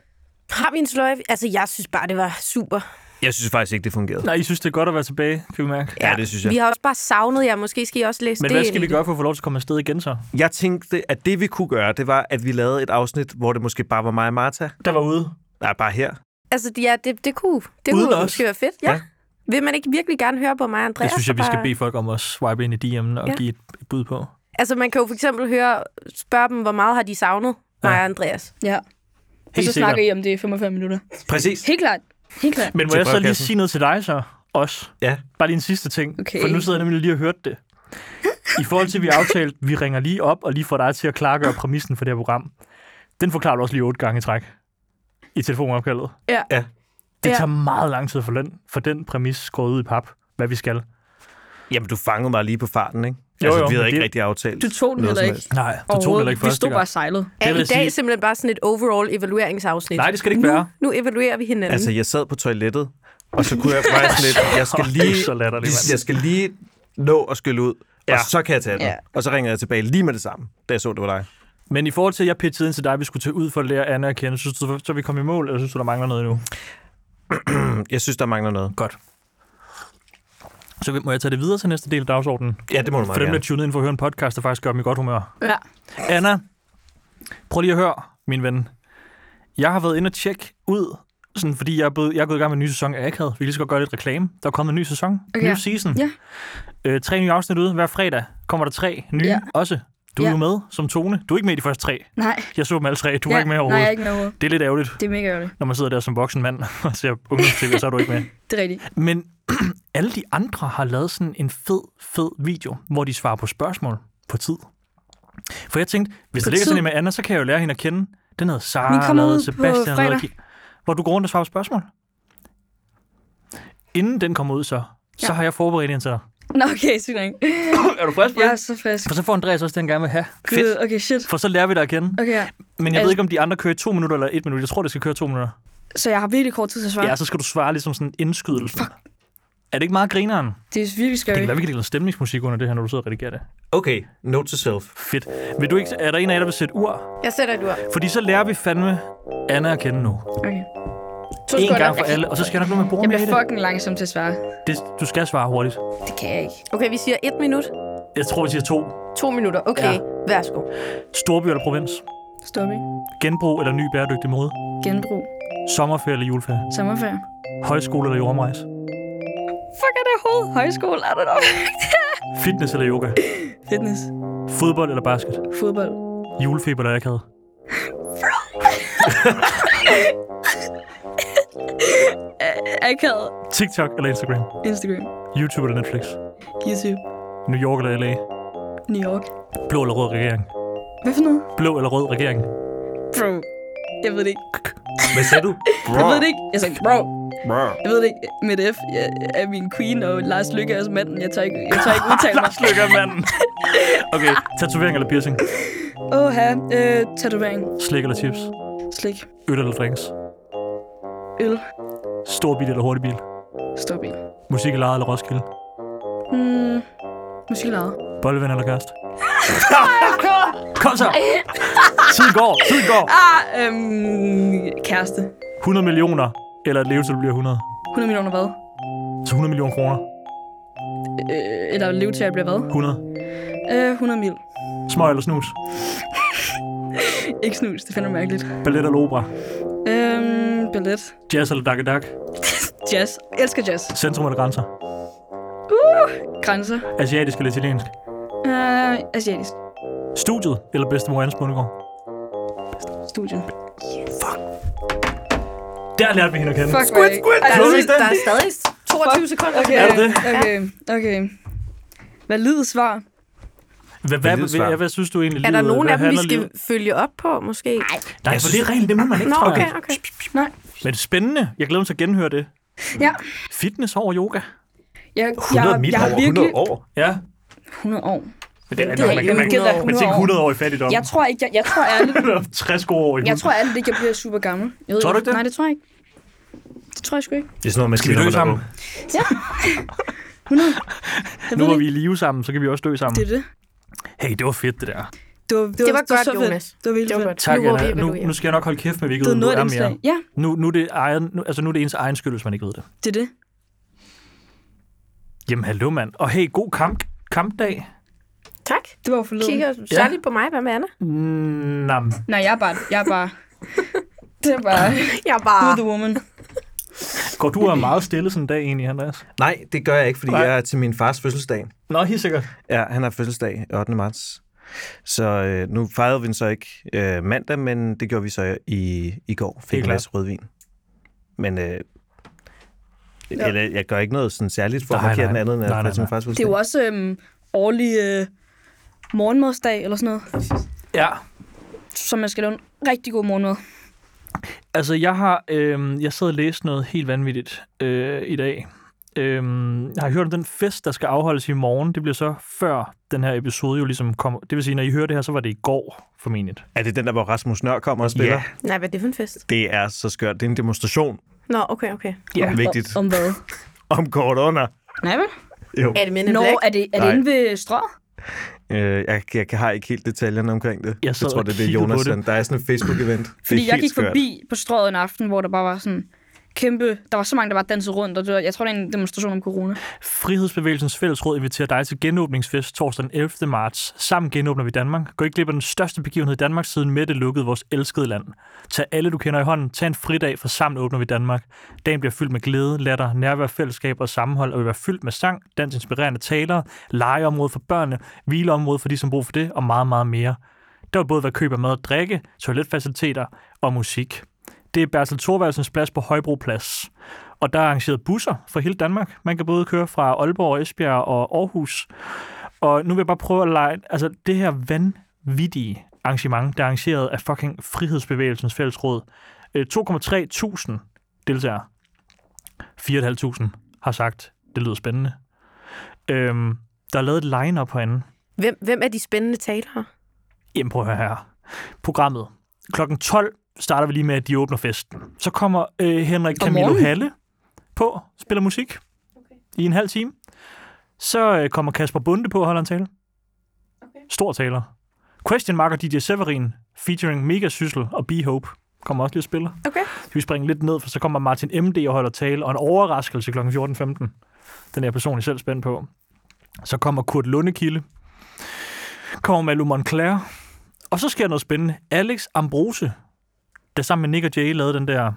[SPEAKER 1] Har vi en sløjfe? Altså, jeg synes bare, det var super.
[SPEAKER 2] Jeg synes faktisk ikke, det fungerede.
[SPEAKER 3] Nej, I synes, det er godt at være tilbage, kan vi mærke.
[SPEAKER 2] Ja, det synes jeg.
[SPEAKER 1] Vi har også bare savnet jer. Måske skal I også læse
[SPEAKER 3] Men
[SPEAKER 1] det
[SPEAKER 3] hvad
[SPEAKER 1] ind
[SPEAKER 3] skal
[SPEAKER 1] i
[SPEAKER 3] vi
[SPEAKER 1] det.
[SPEAKER 3] gøre for at få lov til at komme afsted igen så?
[SPEAKER 2] Jeg tænkte, at det vi kunne gøre, det var, at vi lavede et afsnit, hvor det måske bare var mig og Martha.
[SPEAKER 3] Der var ude.
[SPEAKER 2] Nej, bare her.
[SPEAKER 1] Altså, ja, det, det kunne, det
[SPEAKER 3] Uden
[SPEAKER 1] kunne
[SPEAKER 3] os.
[SPEAKER 1] måske være fedt. Ja.
[SPEAKER 2] Ja.
[SPEAKER 1] ja. Vil man ikke virkelig gerne høre på mig og Andreas?
[SPEAKER 3] Det synes jeg,
[SPEAKER 1] og
[SPEAKER 3] vi skal
[SPEAKER 1] bare-
[SPEAKER 3] bede folk om at swipe ind i DM'en og
[SPEAKER 1] Ja.
[SPEAKER 3] give et et bud på.
[SPEAKER 1] Altså, man kan jo for eksempel høre, spørge dem, hvor meget har de savnet mig
[SPEAKER 3] Ja.
[SPEAKER 1] og Andreas?
[SPEAKER 4] Ja. Og så
[SPEAKER 3] sikkert.
[SPEAKER 4] snakker I om det i 45 minutter.
[SPEAKER 2] Præcis.
[SPEAKER 4] Helt klart. Helt klart.
[SPEAKER 3] Men må
[SPEAKER 2] Til
[SPEAKER 3] jeg så lige
[SPEAKER 2] brevkassen.
[SPEAKER 3] sige noget til dig så også?
[SPEAKER 2] Ja.
[SPEAKER 3] Bare lige en sidste ting,
[SPEAKER 4] Okay.
[SPEAKER 3] for nu sidder jeg nemlig lige og hørt det. I forhold til, at vi aftalte, vi ringer lige op og lige får dig til at klargøre præmissen for det her program. Den forklarer du også lige otte gange i træk. i telefonopkaldet.
[SPEAKER 1] Ja.
[SPEAKER 2] Ja.
[SPEAKER 3] Det
[SPEAKER 1] Ja.
[SPEAKER 3] tager meget lang tid for den, for den præmis skåret ud i pap, hvad vi skal.
[SPEAKER 2] Jamen, du fangede mig lige på farten, ikke?
[SPEAKER 3] Jo,
[SPEAKER 2] Jo, altså,
[SPEAKER 3] jo,
[SPEAKER 2] vi
[SPEAKER 3] men
[SPEAKER 2] havde ikke
[SPEAKER 3] det-
[SPEAKER 2] rigtig aftalt.
[SPEAKER 4] Du tog den
[SPEAKER 2] noget
[SPEAKER 4] heller
[SPEAKER 2] som
[SPEAKER 4] ikke.
[SPEAKER 2] helst.
[SPEAKER 3] Nej, du tog heller
[SPEAKER 4] Overhovedet.
[SPEAKER 3] ikke
[SPEAKER 4] Vi
[SPEAKER 3] første
[SPEAKER 4] stod
[SPEAKER 3] gang.
[SPEAKER 4] bare sejlet.
[SPEAKER 3] Det
[SPEAKER 1] Er i
[SPEAKER 3] vil jeg
[SPEAKER 1] dag
[SPEAKER 3] sige-
[SPEAKER 1] simpelthen bare sådan et overall evalueringsafsnit?
[SPEAKER 3] Nej, det skal det ikke
[SPEAKER 1] nu,
[SPEAKER 3] være.
[SPEAKER 1] Nu evaluerer vi hinanden.
[SPEAKER 2] Altså,
[SPEAKER 1] Altså,
[SPEAKER 2] jeg sad på toilettet, og så kunne jeg bare sådan lidt, jeg skal lige,
[SPEAKER 3] Det er så latterligt, mand.
[SPEAKER 2] jeg skal lige nå at skylle ud, ja.
[SPEAKER 3] Ja.
[SPEAKER 2] og så kan jeg tage den.
[SPEAKER 4] Ja.
[SPEAKER 2] Ja. Og så ringede jeg tilbage lige med det samme, da jeg så, det var dig.
[SPEAKER 3] Men i forhold til, at jeg pitchede ind til dig, at vi skulle tage ud for at lære Anna at kende, synes du, så vi kom i mål, eller synes du, der mangler noget endnu?
[SPEAKER 2] Jeg synes, der mangler noget.
[SPEAKER 3] Godt. Så må jeg tage det videre til næste del af dagsordenen?
[SPEAKER 2] Ja, det må du
[SPEAKER 3] For
[SPEAKER 2] meget
[SPEAKER 3] dem, der
[SPEAKER 2] gerne.
[SPEAKER 3] tuner ind for at høre en podcast, der faktisk gør dem i godt humør.
[SPEAKER 4] Ja.
[SPEAKER 3] Anna, prøv lige at høre, min ven. Jeg har været inde og tjekke ud, sådan, fordi jeg er, blevet, jeg er gået i gang med en ny sæson af Akad. Vi kan lige så godt gøre lidt reklame. Der er kommet en ny sæson,
[SPEAKER 4] Okay.
[SPEAKER 3] okay. ny season.
[SPEAKER 4] Ja.
[SPEAKER 3] Øh, tre nye afsnit ude. Hver fredag kommer der tre nye
[SPEAKER 4] Ja.
[SPEAKER 3] også. Du er
[SPEAKER 4] Ja.
[SPEAKER 3] jo med som Tone. Du er ikke med i de første tre.
[SPEAKER 4] Nej.
[SPEAKER 3] Jeg så dem alle tre. Du
[SPEAKER 4] ja.
[SPEAKER 3] var ikke med
[SPEAKER 4] Nej,
[SPEAKER 3] overhovedet.
[SPEAKER 4] jeg er ikke med overhovedet.
[SPEAKER 3] Det er lidt ærgerligt,
[SPEAKER 4] Det er mega ærgerligt.
[SPEAKER 3] når man sidder der som voksen mand og ser ungdomstv, så er du ikke med.
[SPEAKER 4] Det er rigtigt.
[SPEAKER 3] Men alle de andre har lavet sådan en fed, fed video, hvor de svarer på spørgsmål på tid. For jeg tænkte, hvis
[SPEAKER 4] På
[SPEAKER 3] det ligger sådan
[SPEAKER 4] tid?
[SPEAKER 3] en med Anna, så kan jeg jo lære hende at kende. Den hedder
[SPEAKER 4] Den
[SPEAKER 3] Sara,
[SPEAKER 4] kommer ud
[SPEAKER 3] lavet
[SPEAKER 4] på
[SPEAKER 3] Sebastian, har lavet
[SPEAKER 4] fredag.
[SPEAKER 3] Ki- hvor du går rundt og svarer på spørgsmål. Inden den kommer ud så, så
[SPEAKER 4] Ja.
[SPEAKER 3] har jeg forberedt en til dig.
[SPEAKER 4] Nå, okay, sygt nok.
[SPEAKER 3] er du frisk
[SPEAKER 4] Jeg er så frisk.
[SPEAKER 3] For så får Andreas også den gerne vil have.
[SPEAKER 4] Gud,
[SPEAKER 3] Fedt.
[SPEAKER 4] okay, shit.
[SPEAKER 3] For så lærer vi dig at kende.
[SPEAKER 4] Okay, ja.
[SPEAKER 3] Men jeg ved
[SPEAKER 4] Altså-
[SPEAKER 3] ikke, om de andre kører i to minutter eller et minut. Jeg tror, det skal køre to minutter.
[SPEAKER 4] Så jeg har virkelig kort tid til at svare.
[SPEAKER 3] Ja, så skal du svare ligesom sådan indskydelsen. Er det ikke meget grineren? Det
[SPEAKER 4] Det er virkelig
[SPEAKER 3] kan
[SPEAKER 4] scary.
[SPEAKER 3] være, vi kan lide noget stemningsmusik under det her, når du sidder og redigerer det.
[SPEAKER 2] Okay, note to self.
[SPEAKER 3] Fedt. Vil du ikke, er der en af jer, der vil sætte ur?
[SPEAKER 1] jeg sætter et ur.
[SPEAKER 3] Fordi så lærer vi fandme Anna at kende nu.
[SPEAKER 4] Okay.
[SPEAKER 1] To
[SPEAKER 3] En
[SPEAKER 1] sekunder.
[SPEAKER 3] gang for alle, og så skal jeg nok blive med at bruge
[SPEAKER 4] Jeg
[SPEAKER 3] mere i
[SPEAKER 4] bliver
[SPEAKER 3] det.
[SPEAKER 4] fucking langsom til at svare.
[SPEAKER 3] det. Du skal svare hurtigt.
[SPEAKER 4] Det kan jeg ikke.
[SPEAKER 1] Okay, vi siger et minut.
[SPEAKER 3] Jeg tror, vi siger to.
[SPEAKER 1] To minutter. Okay,
[SPEAKER 3] Ja.
[SPEAKER 1] ja. værsgo.
[SPEAKER 3] Storby eller provins?
[SPEAKER 4] Stop, ikke?
[SPEAKER 3] Genbrug eller ny bæredygtig mode?
[SPEAKER 4] Genbrug.
[SPEAKER 3] Sommerferie eller juleferie?
[SPEAKER 4] Sommerferie.
[SPEAKER 3] Højskole eller jordomrejse?
[SPEAKER 4] Fuck, er det overhovedet? Højskole, er det nok?
[SPEAKER 3] Fitness eller yoga?
[SPEAKER 4] Fitness.
[SPEAKER 3] Fodbold eller basket?
[SPEAKER 4] Fodbold.
[SPEAKER 3] Julefeber eller akavet?
[SPEAKER 4] Akad.
[SPEAKER 3] TikTok eller Instagram?
[SPEAKER 4] Instagram.
[SPEAKER 3] YouTube eller Netflix?
[SPEAKER 4] YouTube.
[SPEAKER 3] New York eller LA?
[SPEAKER 4] New York.
[SPEAKER 3] Blå eller rød regering?
[SPEAKER 4] Hvad for noget?
[SPEAKER 3] Blå eller rød regering?
[SPEAKER 4] Bro. Jeg ved det ikke.
[SPEAKER 2] Hvad sagde du?
[SPEAKER 4] Jeg ved det ikke. Jeg sagde, bro.
[SPEAKER 2] Brr.
[SPEAKER 4] Jeg ved det ikke. Mette F. Jeg, er min queen, og Lars Lykke er også manden. Jeg tør ikke, jeg tør ikke udtale mig.
[SPEAKER 3] Lars Lykke er manden. Okay, tatovering eller piercing?
[SPEAKER 4] Åh, her. Øh, tatovering.
[SPEAKER 3] Slik eller chips?
[SPEAKER 4] Slik.
[SPEAKER 3] Øl eller drinks?
[SPEAKER 4] Øl.
[SPEAKER 3] Stor bil eller hurtig bil?
[SPEAKER 4] Stop i.
[SPEAKER 3] Musik eller eller Roskilde?
[SPEAKER 4] Mm. Måske lavet.
[SPEAKER 3] Bolleven eller kæreste? Kom så! Tid går, tid går!
[SPEAKER 4] Ah, øhm, kæreste.
[SPEAKER 3] 100 millioner, eller et levetid bliver 100.
[SPEAKER 4] 100 millioner hvad?
[SPEAKER 3] Så 100 millioner kroner.
[SPEAKER 4] Øh, eller levetøj bliver hvad?
[SPEAKER 3] 100.
[SPEAKER 4] Øh, 100 mil.
[SPEAKER 3] Smøg eller snus?
[SPEAKER 4] Ikke snus, det finder jeg mærkeligt.
[SPEAKER 3] Ballet eller opera?
[SPEAKER 4] Øhm, ballet.
[SPEAKER 3] Jazz eller dak dak?
[SPEAKER 4] Jazz. Jeg elsker jazz.
[SPEAKER 3] Centrum eller grænser?
[SPEAKER 4] Grænser.
[SPEAKER 3] Asiatisk eller italiensk?
[SPEAKER 4] Øh, asiatisk.
[SPEAKER 3] Studiet eller bedstemor Hans Bundegård?
[SPEAKER 4] Studie.
[SPEAKER 3] Der lærte vi hende at kende.
[SPEAKER 4] Fuck,
[SPEAKER 1] Squid,
[SPEAKER 4] squid.
[SPEAKER 1] Der
[SPEAKER 2] Gjorde vi
[SPEAKER 1] er,
[SPEAKER 2] ikke det?
[SPEAKER 1] der er stadig 22 sekunder.
[SPEAKER 4] Okay,
[SPEAKER 1] tilbage.
[SPEAKER 3] Er det det?
[SPEAKER 4] okay, okay. Valid svar.
[SPEAKER 3] Hvad, hvad,
[SPEAKER 2] Valide
[SPEAKER 3] hvad,
[SPEAKER 2] svar.
[SPEAKER 3] hvad, synes du egentlig?
[SPEAKER 1] Er der
[SPEAKER 3] livet-
[SPEAKER 1] nogen
[SPEAKER 3] hvad
[SPEAKER 1] af dem, vi
[SPEAKER 3] handler
[SPEAKER 1] skal
[SPEAKER 3] livet-
[SPEAKER 1] følge op på, måske? Nej.
[SPEAKER 3] Nej, for det er regel, det må man ikke,
[SPEAKER 1] Nå,
[SPEAKER 3] tror
[SPEAKER 1] okay,
[SPEAKER 3] jeg.
[SPEAKER 1] okay.
[SPEAKER 4] Nej.
[SPEAKER 3] Men spændende. Jeg glæder mig til at genhøre det.
[SPEAKER 4] Ja.
[SPEAKER 3] Fitness over yoga.
[SPEAKER 4] Jeg, jeg,
[SPEAKER 2] 100 mil
[SPEAKER 4] jeg har
[SPEAKER 2] over 100
[SPEAKER 4] virkelig...
[SPEAKER 2] år.
[SPEAKER 3] Ja.
[SPEAKER 4] 100 år.
[SPEAKER 3] Men det er,
[SPEAKER 1] Det er
[SPEAKER 3] man,
[SPEAKER 1] ikke
[SPEAKER 3] man, man,
[SPEAKER 1] jo-
[SPEAKER 4] Gælder
[SPEAKER 1] år.
[SPEAKER 3] man
[SPEAKER 4] 100
[SPEAKER 3] tænker
[SPEAKER 4] år.
[SPEAKER 3] 100 år i fattigdom.
[SPEAKER 4] Jeg tror ikke, jeg, jeg tror ærligt,
[SPEAKER 3] 60 år i
[SPEAKER 4] jeg
[SPEAKER 3] hund.
[SPEAKER 4] tror ærligt ikke, jeg bliver super gammel. Jeg ved
[SPEAKER 3] Tror du ikke det?
[SPEAKER 4] Nej, det tror jeg ikke. Det tror jeg sgu ikke.
[SPEAKER 2] Det er sådan noget, man
[SPEAKER 3] Skal vi dø sammen?
[SPEAKER 4] Ja. 100.
[SPEAKER 3] Nu
[SPEAKER 4] Jeg ved
[SPEAKER 3] er
[SPEAKER 4] det
[SPEAKER 3] vi
[SPEAKER 4] ikke.
[SPEAKER 3] i live sammen, så kan vi også dø sammen.
[SPEAKER 4] Det er det.
[SPEAKER 3] Hey, det var fedt, det der.
[SPEAKER 4] Det var,
[SPEAKER 1] Det var godt,
[SPEAKER 4] så fedt.
[SPEAKER 1] Jonas.
[SPEAKER 4] Det var virkelig
[SPEAKER 1] Det var
[SPEAKER 4] fedt.
[SPEAKER 1] godt.
[SPEAKER 3] Tak,
[SPEAKER 1] nu hvor vi
[SPEAKER 3] Anna. Nu,
[SPEAKER 1] evaluerer.
[SPEAKER 3] nu skal jeg nok holde kæft med, at vi ikke
[SPEAKER 4] Det
[SPEAKER 3] ved,
[SPEAKER 4] var
[SPEAKER 3] hvor
[SPEAKER 4] noget af
[SPEAKER 3] er
[SPEAKER 4] det indslag.
[SPEAKER 3] mere.
[SPEAKER 4] Ja,
[SPEAKER 3] Nu, nu, er det egen, nu, altså nu er det ens egen skyld, hvis man ikke ved det.
[SPEAKER 4] det er det.
[SPEAKER 3] Jamen, hallo, mand. Og hey, god kamp, kampdag.
[SPEAKER 1] Tak.
[SPEAKER 4] Det var forleden.
[SPEAKER 1] Kigger særligt på mig. Hvad med Anna?
[SPEAKER 3] Mm, nam.
[SPEAKER 4] Nej, jeg er bare... Jeg er bare... det er bare...
[SPEAKER 1] Jeg er
[SPEAKER 4] Du
[SPEAKER 1] bare...
[SPEAKER 4] er the woman.
[SPEAKER 3] Ah. Går du og er meget stille sådan en dag egentlig, Andreas?
[SPEAKER 2] Nej, det gør jeg ikke, fordi
[SPEAKER 3] Nej.
[SPEAKER 2] Nej. jeg er til min fars fødselsdag.
[SPEAKER 3] Nå, helt sikkert.
[SPEAKER 2] Ja, han har fødselsdag 8. marts. Så øh, nu fejrede vi den så ikke øh, mandag, men det gjorde vi så i, i går. Fik
[SPEAKER 3] Helt
[SPEAKER 2] en
[SPEAKER 3] klart.
[SPEAKER 2] glas rødvin. Men øh, eller, jeg gør ikke noget sådan særligt for at
[SPEAKER 3] Nej,
[SPEAKER 2] markere
[SPEAKER 3] nej.
[SPEAKER 2] den andet, end at
[SPEAKER 3] Nej,
[SPEAKER 2] jeg
[SPEAKER 3] nej,
[SPEAKER 2] får til min
[SPEAKER 3] nej.
[SPEAKER 2] fars
[SPEAKER 4] Det er jo
[SPEAKER 2] fødselsdag.
[SPEAKER 4] også øhm, årlig øh, morgenmadsdag eller sådan noget,
[SPEAKER 3] Ja.
[SPEAKER 4] som man skal lave en rigtig god morgenmad.
[SPEAKER 3] Altså, jeg har... Øh, jeg sad og læste noget helt vanvittigt øh, i dag. Øh, jeg har hørt om den fest, der skal afholdes i morgen. Det bliver så før den her episode jo ligesom kommer. Det vil sige, når I hører det her, så var det i går, formentlig.
[SPEAKER 2] Er det den der, hvor Rasmus Nør kommer og spiller?
[SPEAKER 3] Ja.
[SPEAKER 1] Nej, hvad er det for en fest?
[SPEAKER 2] Det er så skørt. Det er en demonstration
[SPEAKER 1] Nå, okay, okay.
[SPEAKER 2] Ja. Vigtigt.
[SPEAKER 4] Om, om hvad?
[SPEAKER 2] om kort under.
[SPEAKER 4] Nej, vel?
[SPEAKER 2] Jo.
[SPEAKER 1] Er det Men in
[SPEAKER 4] Nå,
[SPEAKER 1] Black?
[SPEAKER 4] er det, er det
[SPEAKER 2] Nej.
[SPEAKER 4] inde ved strå?
[SPEAKER 2] Øh, jeg, jeg har ikke helt detaljerne omkring det.
[SPEAKER 3] Jeg sad
[SPEAKER 2] tror,
[SPEAKER 3] og
[SPEAKER 2] det er det,
[SPEAKER 3] kiggede på
[SPEAKER 2] Jonas
[SPEAKER 3] det.
[SPEAKER 2] sendte. Der er sådan et Facebook-event. det
[SPEAKER 4] Fordi
[SPEAKER 2] er
[SPEAKER 4] jeg
[SPEAKER 2] helt
[SPEAKER 4] gik
[SPEAKER 2] skørt.
[SPEAKER 4] forbi på strået en aften, hvor der bare var sådan kæmpe... Der var så mange, der bare dansede rundt, og det var, jeg tror, det er en demonstration om corona.
[SPEAKER 3] Frihedsbevægelsens Fællesråd inviterer dig til genåbningsfest torsdag den 11. marts. Sammen genåbner vi Danmark. Gå ikke glip af den største begivenhed i Danmark siden Mette lukkede vores elskede land. Tag alle, du kender i hånden. Tag en fridag, for sammen åbner vi Danmark. Dagen bliver fyldt med glæde, latter, nærvær, fællesskab og sammenhold, og vil være fyldt med sang, dans, inspirerende talere, legeområde for børnene, hvileområde for de, som bruger for det, og meget, meget mere. Der vil både være køb af mad og drikke, toiletfaciliteter og musik. Det er Bertel Thorvaldsens plads på Højbro Plads. Og der er arrangeret busser fra hele Danmark. Man kan både køre fra Aalborg, Esbjerg og Aarhus. Og nu vil jeg bare prøve at lege... Altså, det her vanvittige arrangement, der er arrangeret af fucking Frihedsbevægelsens Fællesråd. Øh, 2,3 tusind deltagere. 4.500 har sagt, det lyder spændende. Øhm, der er lavet et line-up herinde.
[SPEAKER 1] Hvem, hvem er de spændende talere?
[SPEAKER 3] Jamen prøv at høre her. Programmet. Klokken 12 starter vi lige med, at de åbner festen. Så kommer øh, Henrik
[SPEAKER 4] Om
[SPEAKER 3] Camilo
[SPEAKER 4] morgenen?
[SPEAKER 3] Halle på, spiller musik okay. i en halv time. Så øh, kommer Kasper Bunde på og holder en tale. Okay. Stor taler. Question Mark og DJ Severin featuring Mega Syssel og B-Hope kommer også lige at spille.
[SPEAKER 1] Okay.
[SPEAKER 3] Så vi springer lidt ned, for så kommer Martin MD og holder tale, og en overraskelse kl. 14.15. Den er jeg personligt selv spændt på. Så kommer Kurt Lundekilde. Kommer Malu Moncler. Og så sker noget spændende. Alex Ambrose, der sammen med Nick og Jay lavede den der...